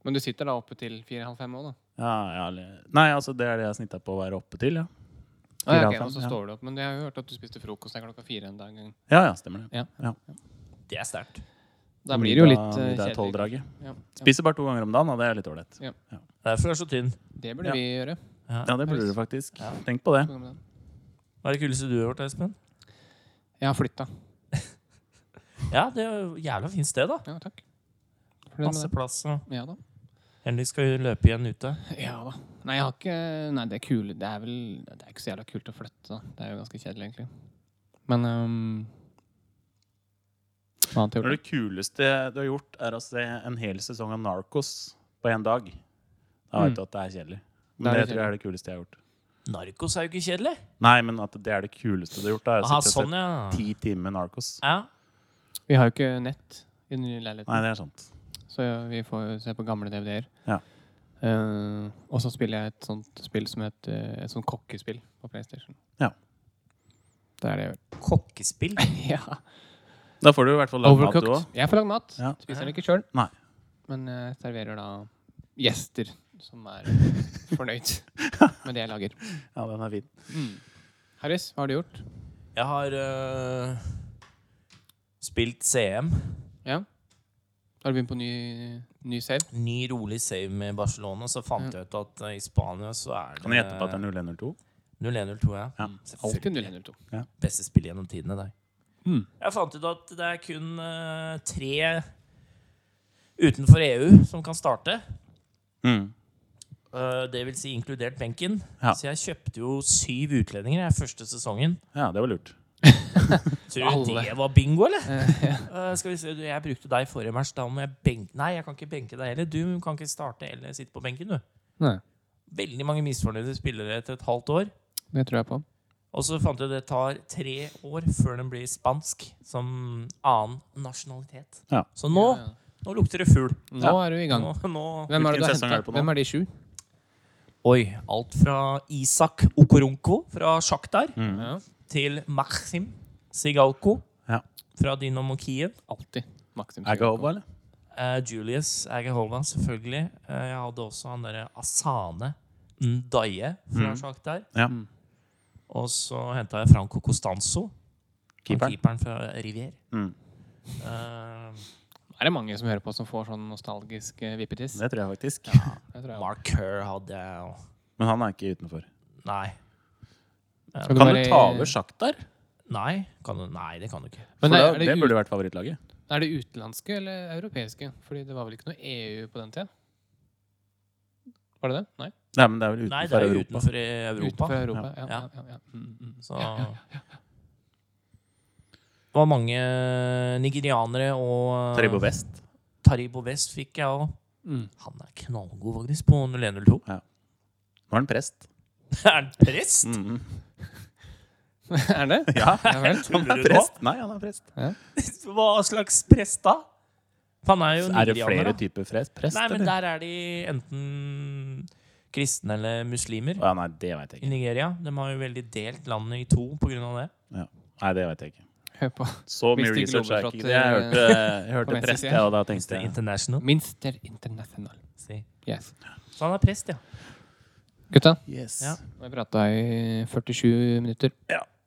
Speaker 2: Men du sitter da oppe til fire-halv fem òg, da?
Speaker 1: Ja, ja, eller- nei, altså det er det jeg har snitta på å være oppe til, ja.
Speaker 2: Ah, ja,
Speaker 1: Fire
Speaker 2: ok,
Speaker 1: av
Speaker 2: og så
Speaker 1: fem, ja.
Speaker 2: står du opp. Men jeg har jo hørt at du spiste frokost der klokka fire en dag.
Speaker 1: Ja, ja, stemmer det.
Speaker 2: Ja.
Speaker 3: Det er sterkt.
Speaker 2: Da blir det jo litt eh,
Speaker 1: Det er
Speaker 2: kjedelig.
Speaker 1: tolvdraget.
Speaker 2: Ja, ja.
Speaker 1: Spiser bare to ganger om dagen, og det er litt ålreit.
Speaker 3: Derfor er du så tynn.
Speaker 2: Det burde
Speaker 1: Ja.
Speaker 2: vi gjøre.
Speaker 1: Ja, det burde du faktisk. Tenk på det.
Speaker 3: Hva er det kuleste du har gjort, Espen?
Speaker 2: Jeg har flytta.
Speaker 3: Ja, det er jo jævla fint sted, da.
Speaker 2: Ja, takk. Fornøyd med
Speaker 3: Masse
Speaker 2: det.
Speaker 3: plass. og
Speaker 2: Ja da.
Speaker 3: Henrik skal jo løpe igjen ute.
Speaker 2: ja da. Nei, jeg har ikke Nei, det er kule Det er vel Det er ikke så jævla kult å flytte, da. Det er jo ganske kjedelig, egentlig. Men ehm, Hva
Speaker 1: Når
Speaker 2: annet har jeg gjort?
Speaker 1: det kuleste du har gjort, er å se en hel sesong av Narcos på én dag, da vet
Speaker 2: Mm.
Speaker 1: du at det er kjedelig.
Speaker 2: Da
Speaker 1: Men
Speaker 2: er
Speaker 1: det
Speaker 2: det
Speaker 1: tror jeg er det kuleste jeg har gjort.
Speaker 3: Narkos er jo ikke kjedelig.
Speaker 1: Nei, men at det er det kuleste du har gjort. da. Jeg
Speaker 3: Aha,
Speaker 1: har sittet og
Speaker 3: sånn,
Speaker 1: sett
Speaker 3: ja.
Speaker 1: ti timer Narcos.
Speaker 3: ja.
Speaker 2: Vi har jo ikke nett i den nye
Speaker 1: Nei,
Speaker 2: leiligheten,
Speaker 1: det er sant.
Speaker 2: så vi får jo se på gamle DVD-er.
Speaker 1: Ja.
Speaker 2: Eh, og så spiller jeg et sånt spill som heter Et sånt kokkespill på PlayStation.
Speaker 1: Ja.
Speaker 2: Det er det jeg gjør.
Speaker 3: Kokkespill.
Speaker 2: ja.
Speaker 1: Da får du i hvert fall lagd mat, du
Speaker 2: Overcooked.
Speaker 1: òg.
Speaker 2: Jeg får lagd mat.
Speaker 1: Ja.
Speaker 2: Spiser den ikke sjøl.
Speaker 1: Nei.
Speaker 2: Men jeg eh, serverer da gjester som er fornøyd med det jeg lager.
Speaker 1: Ja, den er fin.
Speaker 2: Mm. Harris, hva har du gjort?
Speaker 3: Jeg har øh, spilt CM.
Speaker 2: Ja? Har du begynt på ny, ny save?
Speaker 3: Ny, rolig save med Barcelona. Så fant jeg ut at øh, i Spania så er det
Speaker 1: Kan jeg gjette på at det er 0102?
Speaker 3: 0102, ja.
Speaker 1: Ja.
Speaker 3: Selvfølgelig.
Speaker 2: Alltid 0102.
Speaker 3: Beste spill gjennom tidene, det.
Speaker 2: Mm.
Speaker 3: Jeg fant ut at det er kun øh, tre utenfor EU som kan starte.
Speaker 1: Mm.
Speaker 3: Øh, det vil si inkludert benken.
Speaker 1: Ja.
Speaker 3: Så jeg kjøpte jo syv utlendinger jeg, første sesongen.
Speaker 1: ja, det var lurt.
Speaker 3: Tror du
Speaker 2: Alle.
Speaker 3: det var bingo, eller?
Speaker 2: Eh, ja.
Speaker 3: Eh, skal vi se, du, Jeg brukte deg forrige match. Da må jeg benke Nei, jeg kan ikke benke deg heller. Du kan ikke starte eller sitte på benken, du.
Speaker 2: Nei,
Speaker 3: Veldig mange misfornøyde spillere etter et halvt år.
Speaker 2: det tror jeg på.
Speaker 3: Og så fant jeg ut det tar tre år før den blir spansk som annen nasjonalitet.
Speaker 1: Ja.
Speaker 3: Så nå,
Speaker 2: Ja, ja.
Speaker 3: nå lukter det fugl.
Speaker 2: Nå er du i gang.
Speaker 3: Nå, nå
Speaker 2: Hvem er det
Speaker 1: Hvilken
Speaker 2: du har
Speaker 1: sesong er det på
Speaker 2: hentet?
Speaker 1: nå?
Speaker 2: Hvem er de sju?
Speaker 3: Oi. Alt fra Isak Okoronko fra Sjaktar
Speaker 1: Mm.
Speaker 2: Ja,
Speaker 3: til Maxim Sigalko
Speaker 1: Ja.
Speaker 3: fra Dynamo Kiev.
Speaker 2: alltid. Maxim
Speaker 1: Er ikke over, eller?
Speaker 3: Eh, Julius Agahova, selvfølgelig. Eh, jeg hadde også han derre Asane Ndaye fra
Speaker 1: Mm.
Speaker 3: Shakhtar.
Speaker 1: Ja.
Speaker 2: Mm.
Speaker 3: Og så henta jeg Franco Costanzo,
Speaker 1: Keeperen.
Speaker 3: keeperen, keeperen fra Rivier.
Speaker 1: Mm.
Speaker 3: Eh,
Speaker 2: Er det mange som hører på som får sånn nostalgisk eh, vippetiss?
Speaker 1: Det tror jeg faktisk.
Speaker 2: Det tror jeg.
Speaker 3: Mark Kerr hadde jeg og
Speaker 1: Men han er ikke utenfor.
Speaker 3: Nei. Eh,
Speaker 2: Skal
Speaker 1: Kan du
Speaker 2: bare-
Speaker 1: ta over Sjaktar?
Speaker 3: nei, kan du, nei, det kan du ikke.
Speaker 1: For
Speaker 2: Men
Speaker 1: da,
Speaker 2: er,
Speaker 1: det
Speaker 2: det ut,
Speaker 1: burde vært favorittlaget.
Speaker 2: er det utenlandske eller europeiske? Fordi det var vel ikke noe EU på den tida? Var det det? Nei?
Speaker 1: Nei, men det er vel
Speaker 3: Nei, det
Speaker 1: utenfor
Speaker 3: er jo
Speaker 1: Europa.
Speaker 3: utenfor i Europa.
Speaker 2: Utenfor Europa, ja.
Speaker 3: Ja.
Speaker 2: ja, ja, ja. Mm, mm.
Speaker 3: Så Det var mange nigerianere og eh,
Speaker 1: Terribo Vest.
Speaker 3: Taribo West fikk jeg òg.
Speaker 2: Mm.
Speaker 3: Han er knallgod, faktisk, på 0102.
Speaker 1: Nå er han prest.
Speaker 3: Er han prest?
Speaker 1: Mm.
Speaker 2: er det?
Speaker 1: Ja,
Speaker 2: Ja vel.
Speaker 1: han
Speaker 3: Tuller
Speaker 1: er
Speaker 3: du nå?
Speaker 1: prest. Nei, han er prest.
Speaker 3: Hva slags prest da? Han er jo
Speaker 1: Er det
Speaker 3: nigerianer,
Speaker 1: flere
Speaker 3: da.
Speaker 1: typer prest, prest
Speaker 3: Nei, men
Speaker 1: eller?
Speaker 3: der er de enten kristne eller muslimer.
Speaker 1: Ja, nei, det vet jeg
Speaker 3: I
Speaker 1: ikke.
Speaker 3: Nigeria. De har jo veldig delt landet i to pga. det.
Speaker 1: Nei, det vet jeg ikke.
Speaker 2: Hør på.
Speaker 1: Så mye
Speaker 2: Hvis det ikke
Speaker 1: research er ikke
Speaker 2: globetrotter-
Speaker 1: det. Jeg hørte, jeg
Speaker 2: på
Speaker 1: hørte
Speaker 2: venstre
Speaker 1: prest,
Speaker 2: side.
Speaker 1: ja, og da tenkte jeg
Speaker 3: International.
Speaker 2: Minster International.
Speaker 3: Si.
Speaker 2: Yes.
Speaker 3: Så han er prest, ja.
Speaker 2: Gutta,
Speaker 1: yes.
Speaker 3: Ja.
Speaker 2: vi har prata i 47 minutter.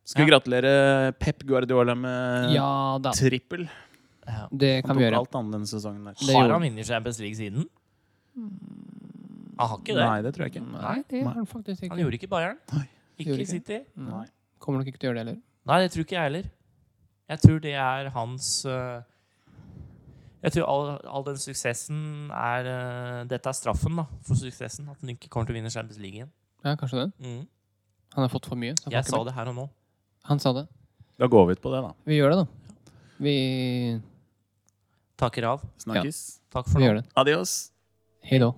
Speaker 1: Skulle gratulere eh, Pep Guardiola med
Speaker 2: Ja da.
Speaker 1: trippel.
Speaker 3: ja.
Speaker 2: Det
Speaker 1: Eh, Han
Speaker 2: kan
Speaker 1: tok
Speaker 2: vi gjøre.
Speaker 1: alt annet denne sesongen. Der.
Speaker 2: Det
Speaker 3: Har
Speaker 2: gjorde-
Speaker 3: han vunnet Champions League siden?
Speaker 2: Hmm.
Speaker 3: Han har ikke det.
Speaker 1: Nei, det tror jeg ikke.
Speaker 2: Nei, det har han faktisk
Speaker 3: Han
Speaker 2: ikke.
Speaker 3: gjorde ikke Bayern.
Speaker 1: Nei.
Speaker 3: Ikke,
Speaker 2: Gjorde ikke.
Speaker 3: City.
Speaker 1: Nei.
Speaker 2: Kommer nok ikke til å gjøre det heller.
Speaker 3: Nei, det tror ikke jeg heller. Jeg tror det er hans øh, Jeg tror all, all den suksessen er øh, Dette er straffen da, for suksessen. At han ikke kommer til å vinne Champions League igjen.
Speaker 2: Ja, kanskje det.
Speaker 3: Mm.
Speaker 2: Han har fått for mye. så han får
Speaker 3: Jeg
Speaker 2: ikke
Speaker 3: sa
Speaker 2: mer.
Speaker 3: det her og nå.
Speaker 2: Han sa det.
Speaker 1: Da går vi ut på det, da.
Speaker 2: Vi gjør det, da. Vi,
Speaker 3: Takker av.
Speaker 1: Snakkes.
Speaker 3: Takk for
Speaker 2: vi
Speaker 3: nå.
Speaker 2: gjør det.
Speaker 1: Adios.
Speaker 2: Hei da.